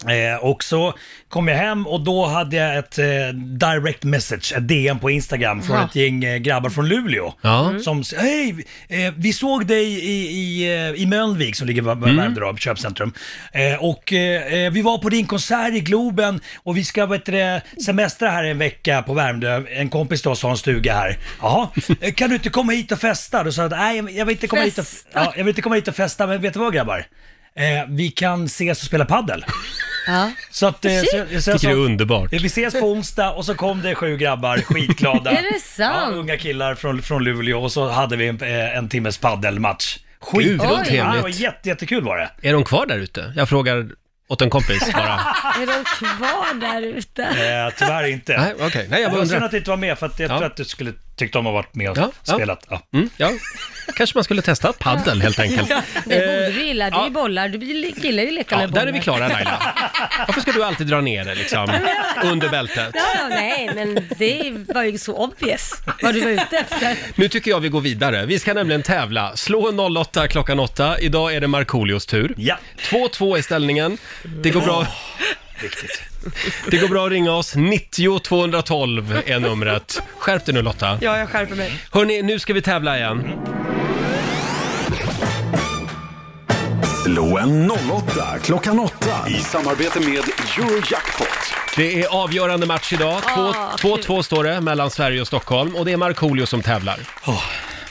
S11: Eh, och så kom jag hem och då hade jag ett eh, direct message, ett DM på Instagram från
S12: Ja.
S11: ett gäng eh, grabbar från Luleå.
S12: Ja. Mm.
S11: Som sa, hej, eh, vi såg dig i, i, eh, i Mölnvik som ligger i Vär-
S1: Mm.
S11: Värmdö då, köpcentrum. Eh, och eh, eh, vi var på din konsert i Globen och vi ska vet du, semestra här en vecka på Värmdö. En kompis till oss har en stuga här. Jaha, eh, kan du inte komma hit och festa? Då sa jag, nej jag vill inte komma hit och, ja, jag vill inte komma hit och festa, men vet du vad grabbar? Eh, vi kan ses och spela paddel.
S3: Ja.
S11: Så att, eh, så, så, jag
S1: Tycker
S11: sa-
S1: det är underbart.
S11: Vi ses på onsdag och så kom det sju grabbar, skitglada.
S3: Är det sant?
S11: Ja, unga killar från, från Luleå och så hade vi en, eh, en timmes paddelmatch.
S1: Gud, vad
S11: Skitroligt! Ja, det var
S1: trevligt.
S11: jätte, jättekul var det.
S1: Är de kvar där ute? Jag frågar åt en kompis bara.
S3: Är de kvar där ute?
S11: Eh, tyvärr inte.
S1: Nej, okej. Nej, jag bara
S11: Det var
S1: undrar.
S11: synd att du inte var med för att jag
S1: Ja.
S11: tror att du skulle tyckt om att ha varit med och spelat. Ja.
S1: Mm, ja. Kanske man skulle testa paddel helt enkelt.
S3: Ja, det borde du gilla. Du är
S1: ja.
S3: ju bollar. Du gillar ju att leka
S1: Ja,
S3: med bollar.
S1: där är vi klara Laila. Varför ska du alltid dra ner det liksom under bältet?
S3: Ja, ja, nej, men det var ju så obvious vad du var ute efter.
S1: Nu tycker jag vi går vidare. Vi ska nämligen tävla. Slå en 08 klockan 8. Idag är det Markoolios tur.
S11: Ja.
S1: 2-2 är ställningen. Det går bra.
S11: Viktigt.
S1: Det går bra att ringa oss. 90 212 är numret. Skärp dig nu Lotta.
S2: Ja, jag skärper mig.
S1: Hörni, nu ska vi tävla igen.
S4: Slå en 08 klockan 8 i samarbete med Eurojackpot.
S1: Det är avgörande match idag. Två- 2-2 står det mellan Sverige och Stockholm och det är Markoolio som tävlar.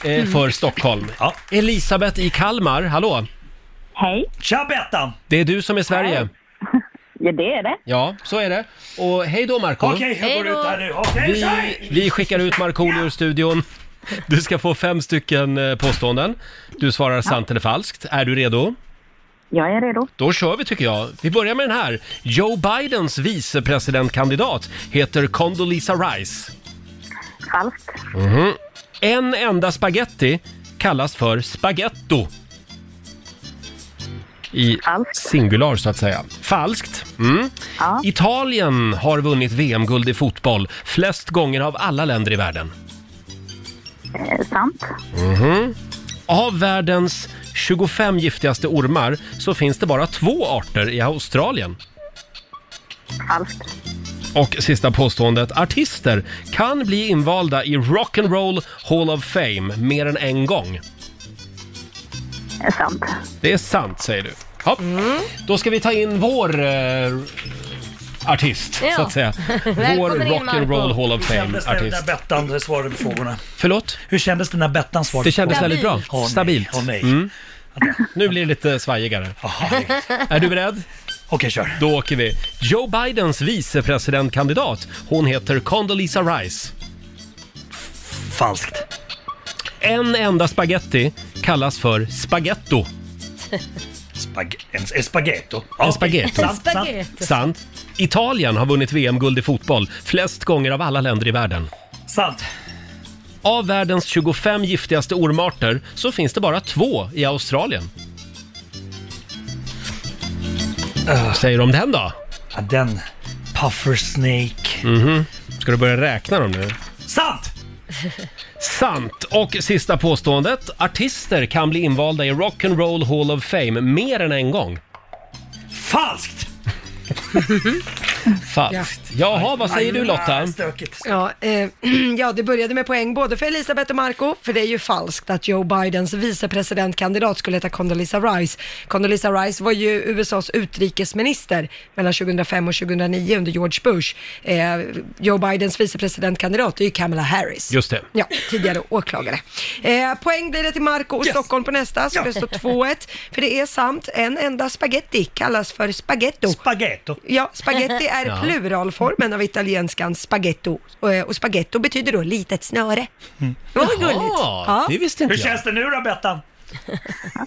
S1: Eh, för Stockholm. Elisabeth i Kalmar, hallå!
S19: Hej!
S11: Tja Bettan!
S1: Det är du som är Sverige.
S19: Ja, det är det.
S1: Ja, så är det. Och hej då Marco.
S11: Okej, jag går ut här nu. Okej,
S1: Vi, vi skickar ut Markoolio ur studion. Du ska få fem stycken eh, påståenden. Du svarar sant eller falskt. Är du redo?
S19: Jag är redo.
S1: Då kör vi tycker jag. Vi börjar med den här. Joe Bidens vicepresidentkandidat heter Condoleezza Rice.
S19: Falskt.
S1: Mhm. En enda spaghetti kallas för spaghetto. I singular så att säga. Falskt. Mm. Italien har vunnit VM-guld i fotboll flest gånger av alla länder i världen.
S19: Eh, sant.
S1: Mhm. Av världens 25 giftigaste ormar så finns det bara två arter i Australien.
S19: Falskt.
S1: Och sista påståendet. Artister kan bli invalda i Rock'n'Roll Hall of Fame mer än en gång.
S19: Är sant.
S1: Det är sant, säger du. Ja.
S12: Mm.
S1: Då ska vi ta in vår eh, artist,
S12: Ja.
S1: så att säga. Vår
S12: Välkommen in,
S1: Rock'n'Roll
S12: Marco.
S1: Hall of
S11: kändes det när
S1: Fame-artist.
S11: Bettan eh, svarade på frågorna?
S1: Förlåt?
S11: Hur kändes det när Bettan svarade
S1: Det kändes
S11: på
S1: väldigt bra.
S11: Åh, nej.
S1: Stabilt.
S11: Åh, nej.
S1: Mm. Nu blir det lite svajigare. Är du beredd?
S11: Okej, kör.
S1: Då åker vi. Joe Bidens vicepresidentkandidat, hon heter Condoleezza Rice.
S11: Falskt.
S1: En enda spaghetti kallas för spaghetto.
S11: Spag en, en spaghetto.
S1: En spaghetto.
S11: Sant, sant.
S1: Sant. Italien har vunnit VM-guld i fotboll flest gånger av alla länder i världen.
S11: Sant.
S1: Av världens 25 giftigaste ormarter så finns det bara två i Australien. Vad säger du om den då?
S11: Ja, den. Puffer snake.
S1: Mhm. Ska du börja räkna dem nu?
S11: Sant!
S1: Sant! Och sista påståendet. Artister kan bli invalda i Rock'n'Roll Hall of Fame mer än en gång.
S11: Falskt!
S1: Falskt. Jaha, vad säger du Lotta?
S2: Ja, eh, ja, det började med poäng både för Elisabeth och Marco, för det är ju falskt att Joe Bidens vicepresidentkandidat skulle heta Condoleezza Rice. Condoleezza Rice var ju USAs utrikesminister mellan 2005 och 2009 under George Bush. Eh, Joe Bidens vicepresidentkandidat är ju Kamala Harris.
S1: Just det.
S2: Ja, tidigare åklagare. Eh, poäng blir det till Marco och Stockholm på nästa, så
S12: Ja.
S2: det står 2-1. För det är sant, en enda spaghetti kallas för spaghetto.
S11: Spaghetto.
S2: Ja, spaghetti är
S12: Ja.
S2: pluralformen av italienskan spaghetto. Eh, Och spaghetto betyder då litet snöre. Det var väl
S12: Mm. Jaha,
S2: gulligt?
S12: det visste inte
S11: Hur
S12: jag.
S11: känns det nu då Bettan?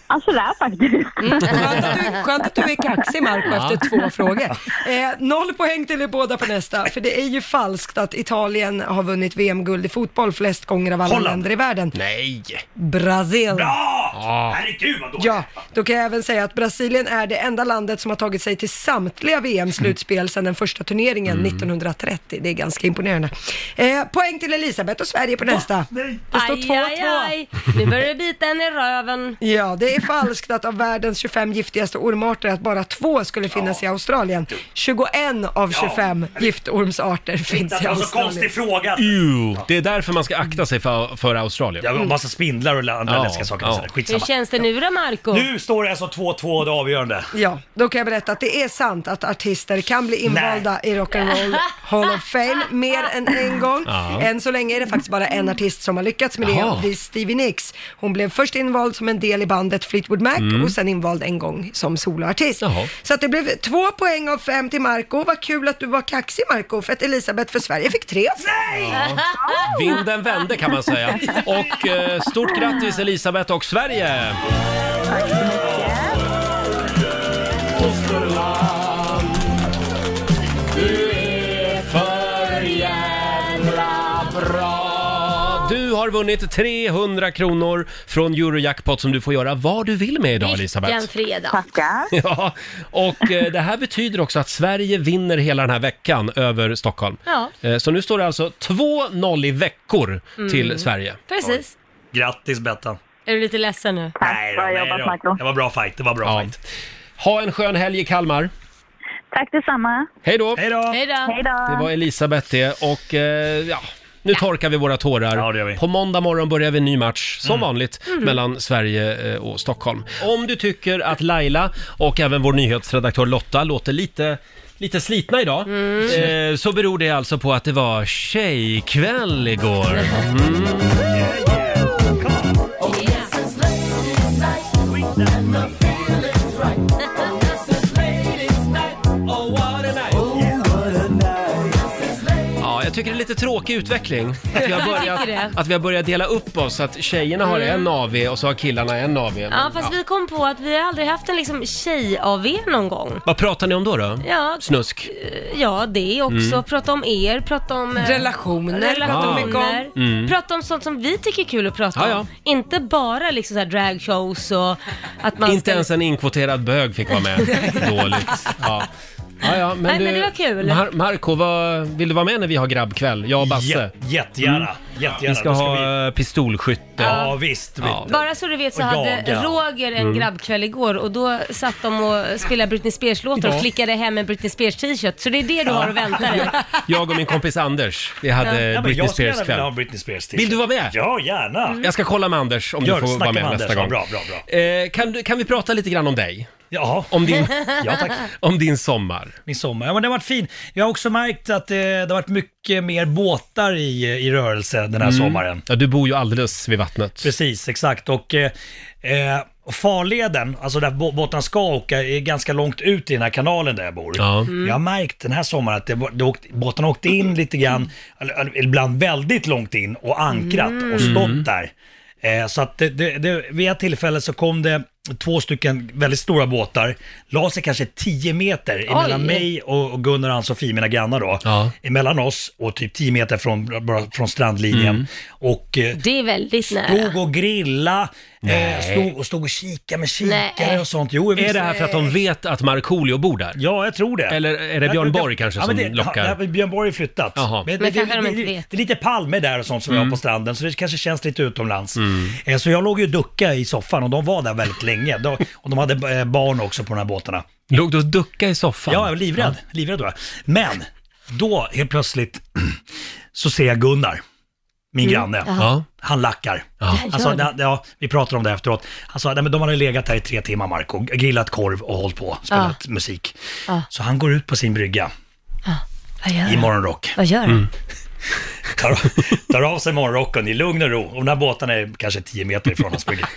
S19: Alltså där faktiskt.
S11: Mm.
S2: Skönt att du- Skönt att du är kaxig Marco
S12: Ja.
S2: efter två frågor. Eh, noll poäng till er båda på nästa, för det är ju falskt att Italien har vunnit VM-guld i fotboll flest gånger av alla
S12: Holland.
S2: länder i världen.
S1: Nej!
S2: Brasilien.
S12: Bra!
S11: Herregud vad
S2: Ja, då kan jag även säga att Brasilien är det enda landet som har tagit sig till samtliga VM-slutspel sedan den första turneringen
S11: Mm.
S2: 1930. Det är ganska imponerande. Eh, poäng till Elisabeth och Sverige på nästa. Det står 2-2.
S3: Nu börjar det bita en i röven.
S2: Ja, det är falskt att av världens 25 giftigaste ormarter att bara två skulle finnas i Australien. 21 av 25 giftormsarter finns i
S11: Det var så
S2: Australien.
S11: konstig fråga.
S1: Ew. Det är därför man ska akta sig för, för Australien.
S11: Ja, och massa spindlar och andra läskiga saker. Så där.
S3: Hur känns det nu då Marco?
S11: Nu står det alltså 2-2 det avgörande.
S2: Ja, då kan jag berätta att det är sant att artister kan bli invalda i Rock'n'Roll Hall of Fame mer än en gång.
S12: Ja.
S2: Än så länge är det faktiskt bara en artist som har lyckats med det
S12: Jaha.
S2: och det är Stevie Nicks. Hon blev först invald som en del i bandet Fleetwood Mac
S12: Mm.
S2: och sen invald en gång som soloartist. Så att det blev två poäng av fem till Marco. Vad kul att du var kaxig Marco för att Elisabeth för Sverige fick tre av fem.
S1: Ja. Vinden vände kan man säga. Och eh, stort grattis Elisabeth och Sverige!
S12: Du är för jävla bra
S1: Du har vunnit 300 kronor från Eurojackpot som du får göra vad du vill med idag Elisabeth.
S3: Vilken fredag.
S1: Ja, och eh, det här betyder också att Sverige vinner hela den här veckan över Stockholm.
S3: Ja.
S1: Eh, Så nu står det alltså 2-0 i veckor
S3: Mm.
S1: till Sverige.
S3: Precis.
S11: Grattis Bettan.
S3: Är du lite ledsen nu?
S11: Nej då, nej då. Det var bra fight, det var bra fight.
S1: Ha en skön helg i Kalmar.
S19: Tack detsamma.
S1: Hej då!
S11: Hej då!
S3: Hej då!
S19: Hej då!
S1: Det var Elisabeth det och eh, ja, nu torkar vi Mhm. våra tårar. På måndag morgon börjar vi en ny match, som vanligt,
S12: Mm.
S1: mellan Sverige eh, och Stockholm. Om du tycker att Laila och även vår nyhetsredaktör Lotta låter lite Lite slitna idag, eh, så beror det alltså på att det var tjejkväll igår. Mm. Ja, jag tycker det är lite tråkig utveckling. Att vi har
S3: Jag tycker det.
S1: börjat, att vi har börjat dela upp oss, att tjejerna har
S3: Mm.
S1: en AV och så har killarna en AV.
S3: Ja, fast
S1: Mm, Ja.
S3: vi kom på att vi har aldrig haft en liksom tjej-AV någon gång.
S1: Vad pratar ni om då? då?
S3: Ja. eh,
S1: Snusk?
S3: Ja, det också.
S1: Mm.
S3: Prata om er, prata om... eh,
S2: Relationer, pratar vi mycket
S3: relationer.
S2: om.
S1: Mm.
S3: Prata om sånt som vi tycker är kul att prata
S1: Ja, ja.
S3: om. Inte bara liksom så här dragshows och att man
S1: Inte
S3: ska...
S1: ens en inkvoterad bög fick vara med. Dåligt. Ja. Ja, ja, men
S3: Nej,
S1: du,
S3: men det var kul.
S1: Mar- Marco, vad, vill du vara med när vi har grabbkväll? Jag och Basse.
S11: Jä- jättegärna. Jättegärna.
S1: Mm. Vi ska
S11: Då vi-
S1: ha eh, pistolskytte.
S11: Ja, visst.
S1: Ja.
S3: Bara så du vet så
S1: Och
S3: hade
S1: jaga.
S3: Roger en
S1: Mm.
S3: grabbkväll igår och då satt de och spelade Britney Spears-låtar och
S1: Ja.
S3: klickade hem en Britney Spears-t-shirt. Så det är det du har att vänta dig.
S1: Jag och min kompis Anders, vi hade
S3: Ja, men
S1: Britney
S11: jag skulle
S1: Spears
S11: gärna vilja ha
S1: kväll.
S11: en Britney Spears t-shirt.
S1: Vill du vara med?
S11: Ja, gärna.
S3: Mm.
S1: Jag ska kolla med Anders om
S11: Gör
S1: du
S11: det,
S1: får vara
S11: snacka
S1: med,
S11: med
S1: nästa
S11: Anders.
S1: gång.
S11: Ja, bra, bra,
S1: Eh, kan, du, kan vi prata lite grann om dig?
S11: Jaha.
S1: Om din,
S11: Ja, tack.
S1: om din sommar.
S11: Min sommar. Ja, men det har varit fin. Jag har också märkt att eh, det har varit mycket mer båtar i, i rörelse den här
S1: Mm.
S11: sommaren.
S1: Ja, du bor ju alldeles vid vattnet.
S11: Precis, exakt. Och eh, eh, farleden, alltså där bå- båtarna ska åka, är ganska långt ut i den här kanalen där jag bor.
S1: Ja. Mm.
S11: Jag har märkt den här sommaren att det, var- det åkt, båtarna åkte in lite grann, eller- eller ibland väldigt långt in och ankrat och stått
S1: Mm.
S11: där. Eh, så att det, det, det, vid ett tillfälle så kom det två stycken väldigt stora båtar, la sig kanske 10 meter emellan mig och och Gunnar och Ann-Sofie, mina grannar då, emellan oss och typ 10 meter från, bara från strandlinjen.
S1: Mm.
S11: Och eh,
S3: Det är väldigt nära.
S11: Stod och grilla, eh,
S1: Nej.
S11: stod, och stod och kika med kikare
S3: Nej.
S11: och sånt. Jo,
S1: Är det här för att de vet att Markoolio bor där?
S11: Ja, jag tror det.
S1: Eller är det Björn Borg kanske som lockar?
S11: Ja, men Björn Borg har flyttat.
S1: Jaha. Mm.
S3: Men kanske de inte
S11: det,
S3: vet.
S11: det är lite palmer där och sånt som vi har på stranden, så det kanske känns lite utomlands. Eh, Så jag låg ju och duckade i soffan och de var där väldigt länge. De, och de hade eh, barn också på de här båtarna.
S1: Låg du och duckade i soffan?
S11: Ja, jag var livrädd. Livrädd var jag. Men då helt plötsligt så ser jag Gunnar, min
S12: Mm,
S11: granne.
S12: ja.
S11: Han lackar.
S12: Ja. Ja,
S11: Alltså,
S12: gör det.
S11: na- ja, vi pratade om det efteråt. Han sa, nej men de hade legat här i tre timmar Marco, grillat korv och hållit på, spelat musik.
S3: Ja.
S11: Så han går ut på sin brygga
S3: Vad gör
S11: i
S3: du?
S11: morgonrock.
S3: Vad gör
S1: Mm.
S3: du?
S11: Tar, av- tar av sig morgonrocken i lugn och ro. Och den här båten är kanske 10 meter ifrån hans brygga.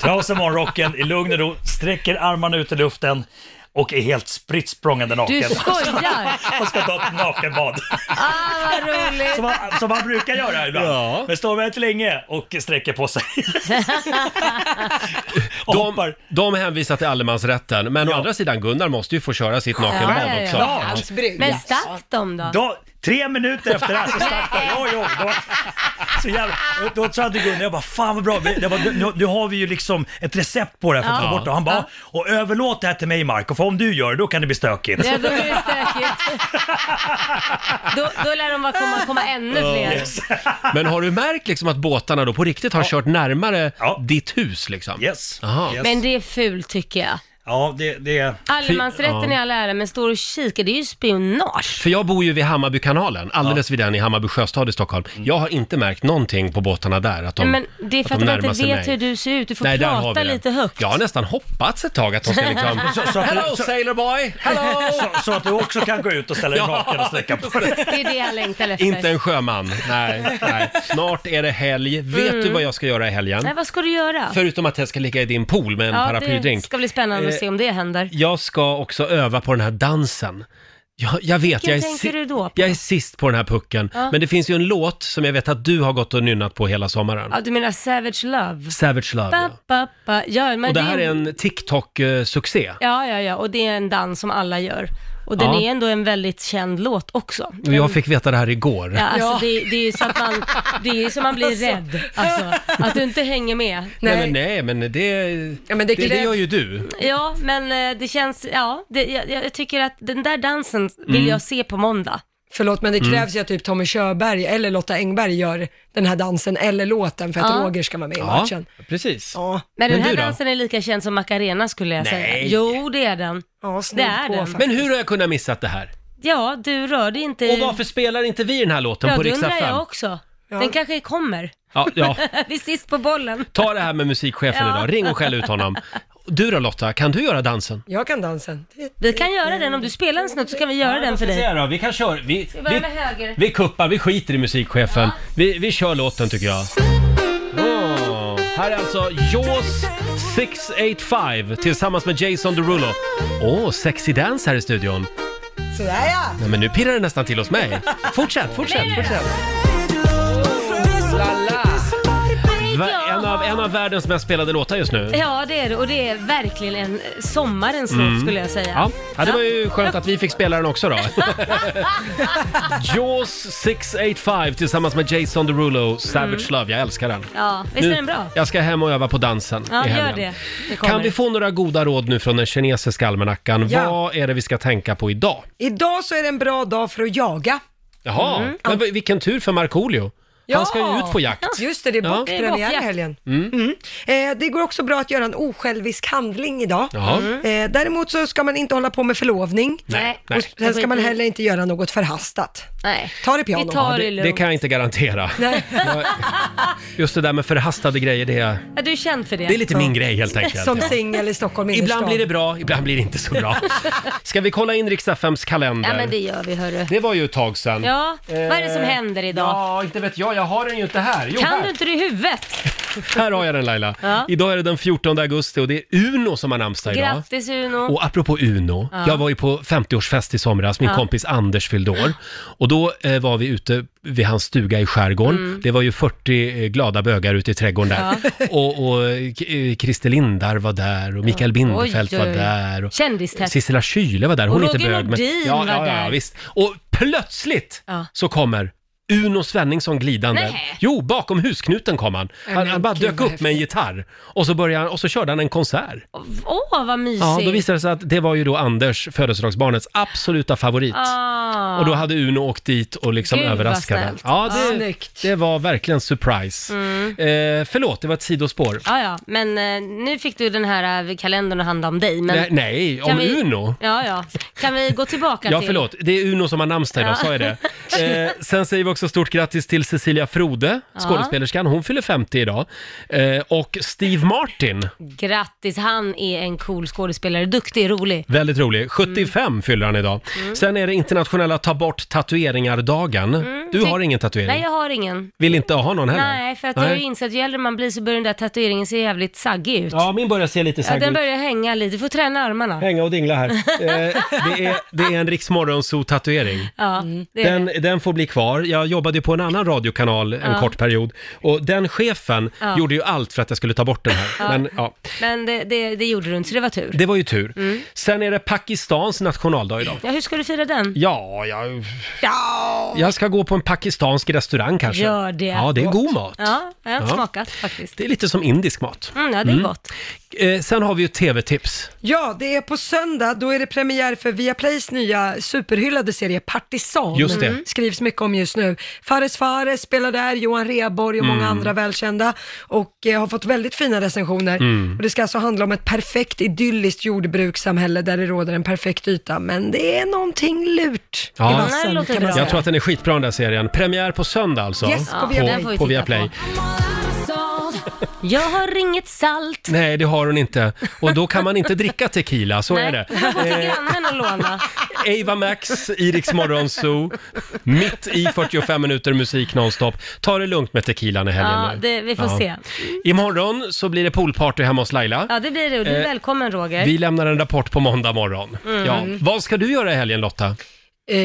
S11: Tar av sig morgonrocken i lugn och ro, sträcker armarna ut i luften och är helt spritt språngande naken.
S12: Du skojar!
S11: Och ska ta ett nakenbad.
S12: Ah, vad roligt!
S11: Som man, som man brukar göra ibland. Men står väldigt länge och sträcker på sig.
S1: De, de hänvisar till allemansrätten, men å andra sidan Gunnar måste ju få köra sitt nakenbad också.
S3: Men stack de då?
S11: Då, tre minuter efter det här så startade jag. Oj, oj, det var så jävla... och Då sa hade Gunnar, jag bara fan vad bra, Vi- det var, nu, nu har vi ju liksom ett recept på det här för att
S12: Ja.
S11: få bort det. Och Han bara, och överlåt det här till mig Marco, för om du gör det då kan det bli stökigt.
S3: Ja, då blir det stökigt. Då, då lär de bara komma, komma ännu fler.
S1: Yes. Men har du märkt liksom att båtarna då på riktigt har kört närmare ditt hus liksom?
S11: Yes.
S3: Men det är fult tycker jag.
S11: Ja, det... det...
S3: Allemansrätten
S1: Fy-
S3: i
S1: ja.
S3: all ära, men står och kikar, det är ju spionage.
S1: För jag bor ju vid Hammarbykanalen, alldeles vid den i Hammarby sjöstad i Stockholm.
S11: Mm.
S1: Jag har inte märkt någonting på båtarna där, att de
S3: Nej, men det är för att de
S1: närmar
S3: inte
S1: sig
S3: vet
S1: mig.
S3: hur du ser ut. Du får
S1: där har
S3: prata
S1: vi den.
S3: lite högt.
S1: Jag har nästan hoppats ett tag att de ska liksom...
S11: Så- så att-
S1: Hello sailor boy! Hello!
S11: Så, så att du också kan gå ut och ställa dig
S1: Ja.
S11: naken och sträcka på dig.
S3: Det är det jag längtar efter.
S1: Inte en sjöman. Nej, nej. Snart är det helg. Vet
S3: Mm.
S1: du vad jag ska göra i helgen?
S3: Nej, vad ska du göra?
S1: Förutom att jag ska ligga i din pool med en
S3: det
S1: paraplydrink. Eh,
S3: ska bli spännande att se om det händer.
S1: Jag ska också öva på den här dansen. Jag, jag vet,
S3: Vilken
S1: jag är,
S3: tänker du då på?
S1: jag är sist på den här pucken.
S3: Ja.
S1: Men det finns ju en låt som jag vet att du har gått och nynnat på hela sommaren.
S3: Ja, du menar Savage Love?
S1: Savage Love.
S3: Ba, ba, ba. Ja, men
S1: och det här
S3: ju-
S1: är en eh, TikTok-succé.
S3: Ja, ja, ja, och det är en dans som alla gör. Och den
S1: Ja.
S3: är ändå en väldigt känd låt också.
S1: Och jag fick veta det här igår.
S3: Mm. Ja, alltså Det, det är ju så att man, det är ju så man blir rädd. Alltså, att du inte hänger med.
S1: Nej. men nej, men det, det,
S3: men det
S1: det,
S3: krävs-
S1: gör ju du.
S3: Ja, men eh, det känns, ja, det, jag, jag tycker att den där dansen vill
S1: Mm.
S3: jag se på måndag.
S2: Förlåt, men det
S1: Mm.
S2: krävs ju att typ Tommy Körberg eller Lotta Engberg gör den här dansen eller låten för att
S3: Ja.
S2: Roger ska vara med i
S1: Ja,
S2: matchen.
S1: precis.
S3: Men den
S1: Men
S3: här
S1: du då?
S3: dansen är lika känd som Macarena skulle jag
S1: Nej.
S3: säga. Jo, det är den. det är den.
S1: Men hur har jag kunnat missa det här?
S3: Ja, du rörde inte...
S1: Och varför spelar inte vi den här låten
S3: Mm. ja,
S1: på
S3: det
S1: Rix
S3: undrar
S1: FM?
S3: jag också. Den kanske kommer.
S1: Ja, ja.
S3: Vi är sist på bollen.
S1: Ta det här med musikchefen
S3: Ja.
S1: idag, ring och skäll ut honom. Du då Lotta, kan du göra dansen?
S2: Jag kan dansen.
S3: Vi kan göra den, om du spelar en snutt så kan vi göra den för dig.
S1: då? Vi kan köra, vi,
S3: Ska vi börja med höger?
S1: vi kuppar, vi skiter i musikchefen. Vi, vi kör låten tycker jag. Åh, Här är alltså Jaws 685 tillsammans med Jason Derulo. Åh, sexy dance här i studion.
S12: Sådär ja!
S1: Nej men nu pirrar det nästan till hos mig. Fortsätt, fortsätt, fortsätt. Va, en, av, en av världens mest spelade låtar just nu.
S3: Ja, det är det. Och det är verkligen en eh, sommarens
S1: Mm.
S3: låt skulle jag säga.
S1: Ja. ja, det var ju skönt att vi fick spela den också då. Jaws 685 tillsammans med Jason Derulo, Savage Love. Jag älskar den.
S3: Mm. Ja, visst är den bra?
S1: Jag ska hem och öva på dansen
S3: Ja,
S1: i
S3: gör
S1: helgen.
S3: det. det kommer.
S1: Kan vi få några goda råd nu från den kinesiska almanackan?
S2: Ja.
S1: Vad är det vi ska tänka på idag?
S2: Idag så är det en bra dag för att jaga.
S1: Jaha,
S2: Mm.
S1: men vi- vilken tur för Markoolio. Han ska ju ut på jakt.
S2: Just det, det är
S1: Ja.
S2: bokpremiär i helgen.
S1: Mm.
S2: Mm. Eh, det går också bra att göra en osjälvisk handling idag.
S1: Jaha.
S3: Mm.
S2: Eh, däremot så ska man inte hålla på med förlovning.
S1: Nej,
S2: Och
S1: nej.
S2: sen ska man heller inte göra något förhastat.
S3: Nej.
S2: Ta det piano.
S1: Ja, det, det kan jag inte garantera.
S2: Nej.
S1: Just det där med förhastade grejer, det är,
S3: Ja, du är känd för det.
S1: det är lite min grej helt enkelt.
S2: Som
S1: Ja.
S2: singel i Stockholm
S1: Ibland blir det bra, ibland blir det inte så bra. Ska vi kolla in Riks-FMs kalender?
S3: Ja, men det gör vi hörru.
S1: Det var ju ett tag sedan.
S3: Ja, vad är det som
S1: Eh,
S3: händer idag?
S1: Ja, inte vet jag. Jag har den ju inte här. Jo,
S3: kan
S1: här.
S3: du inte det i huvudet?
S1: Här har jag den Laila.
S3: Ja.
S1: Idag är det den 14 augusti och det är Uno som har namnsdag idag.
S3: Grattis Uno.
S1: Och apropå Uno,
S3: Ja.
S1: jag var ju på 50-årsfest i somras, min
S3: Ja.
S1: kompis Anders fyllde år. Och då eh, var vi ute vid hans stuga i skärgården.
S3: Mm.
S1: Det var ju 40 eh, glada bögar ute i trädgården där. Och, och eh, K- eh, Christer Lindar var där och Mikael Binderfeld
S3: Oj,
S1: var
S3: oj, oj.
S1: där. Och
S3: Kändistätt.
S1: Sissela Kyle var där, hon
S3: Och
S1: är inte
S3: Roger
S1: bög.
S3: Nordin
S1: ja,
S3: var
S1: ja, ja,
S3: där.
S1: Visst. Och plötsligt
S3: Ja.
S1: så kommer Uno Svenningsson glidande.
S3: Nej.
S1: Jo, bakom husknuten kom han.
S3: Nej,
S1: Han,
S3: men
S1: han bara
S3: gud,
S1: dök
S3: vad
S1: upp med en gitarr och så, började, han- och så körde han en konsert.
S3: Åh, vad mysigt.
S1: Ja, då visade det sig att det var ju då Anders, födelsedagsbarnets absoluta favorit.
S3: Ah.
S1: Och då hade Uno åkt dit och liksom
S3: Gud, vad
S1: överraskat den.
S3: snällt.
S1: Ja,
S3: Ja.
S1: det, det var verkligen surprise.
S3: Mm.
S1: Eh, förlåt, det var ett sidospår.
S3: Ja, ja, men eh, nu fick du den här eh, kalendern att handla om dig. Men
S1: Nej, nej, om
S3: Kan vi-
S1: Uno.
S3: Ja, ja. Kan vi gå tillbaka
S1: Ja,
S3: till...
S1: förlåt. Det är Uno som har namnsdag idag,
S3: Ja.
S1: sa jag det. Eh, sen säger vi också stort grattis till Cecilia Frode,
S3: Ja.
S1: skådespelerskan. Hon fyller 50 idag. Eh, och Steve Martin,
S3: Grattis, han är en cool skådespelare. Duktig, rolig.
S1: Väldigt
S3: Mm.
S1: rolig. 75 fyller han idag. Sen är det internationella ta bort tatueringar-dagen.
S3: Mm,
S1: Du
S3: tänk-
S1: har ingen tatuering.
S3: Nej, jag har ingen.
S1: Vill inte ha någon heller?
S3: Nej, för att jag har ju insett att ju äldre man blir så börjar den där tatueringen se jävligt saggig ut.
S1: Ja, min börjar se lite
S3: Ja,
S1: saggig
S3: den
S1: ut. Mm.
S3: börjar hänga lite. Du får träna armarna.
S1: Hänga och dingla här. Eh, det, är, det är en Rix Morgonzoo-tatuering.
S3: Ja, det är
S1: Den, den får bli kvar. Jag jobbade ju på en annan radiokanal en
S3: Ja.
S1: kort period och den chefen
S3: Ja.
S1: gjorde ju allt för att jag skulle ta bort den här.
S3: Ja.
S1: Men, ja.
S3: Men det, det, det gjorde du inte, så det var tur.
S1: Det var ju tur.
S3: Mm.
S1: Sen är det Pakistans nationaldag idag.
S3: Ja, hur ska du fira den?
S1: Ja, jag,
S3: Ja,
S1: jag ska gå på en pakistansk restaurang kanske.
S3: gör det.
S1: Ja, det är god mat.
S3: Ja, jag har
S1: Ja.
S3: smakat faktiskt.
S1: Det är lite som indisk mat.
S3: Mm, ja, det är gott.
S1: Eh, sen har vi ju ett tv-tips.
S2: Ja, det är på söndag, då är det premiär för Viaplays nya superhyllade serie Partisan.
S1: Just det. Mm.
S2: Skrivs mycket om just nu. Fares Fares spelar där, Johan Rheborg och många
S1: Mm.
S2: andra välkända. Och eh, har fått väldigt fina recensioner.
S1: Mm.
S2: Och det ska alltså handla om ett perfekt idylliskt jordbrukssamhälle där det råder en perfekt yta. Men det är någonting lurt i vassen, kan man säga.
S1: Jag tror att den är skitbra den där serien. Premiär på söndag alltså.
S2: Yes, på Viaplay. Den får
S1: På,
S2: vi
S1: på
S2: titta
S1: Viaplay.
S3: Jag har inget salt.
S1: Nej, det har hon inte. Och då kan man inte dricka tequila, så är det.
S3: Jag går till
S1: Eh,
S3: grannen och låna.
S1: Ava Max, Iriks Morgonzoo, mitt i 45 minuter musik nonstop. Ta det lugnt med tequilan i helgen
S3: Ja,
S1: nu.
S3: det, vi får se.
S1: Imorgon så blir det poolparty hemma hos Laila.
S3: Ja, det blir det. Och Du är
S1: Eh,
S3: välkommen Roger.
S1: Vi lämnar en rapport på måndag morgon.
S3: Mm.
S1: Ja. Vad ska du göra i helgen Lotta?
S2: Eh,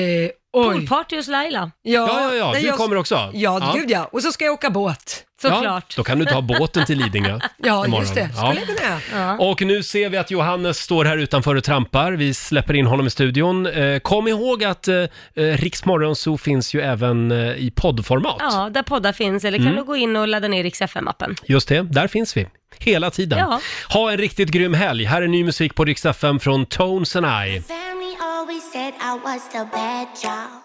S3: Poolparty hos Laila.
S1: Ja, ja, ja.
S2: nej,
S1: Du
S2: jag-
S1: kommer också?
S2: Ja, gud ja. Och så ska jag åka båt.
S1: Ja, då kan du ta båten till Lidingö
S2: Ja,
S1: imorgon.
S2: just det. Skulle
S1: Ja.
S2: jag kunna göra.
S1: Och nu ser vi att Johannes står här utanför och trampar. Vi släpper in honom i studion. Eh, kom ihåg att eh, Riksmorgonzoo finns ju även eh, i poddformat.
S3: Ja, där poddar finns. Eller kan
S1: Mm.
S3: du gå in och ladda ner Rix FM-appen.
S1: Just det, där finns vi. Hela tiden.
S3: Ja.
S1: Ha en riktigt grym helg. Här är ny musik på Rix FM från Tones and I.
S20: Family always said I was the bad job.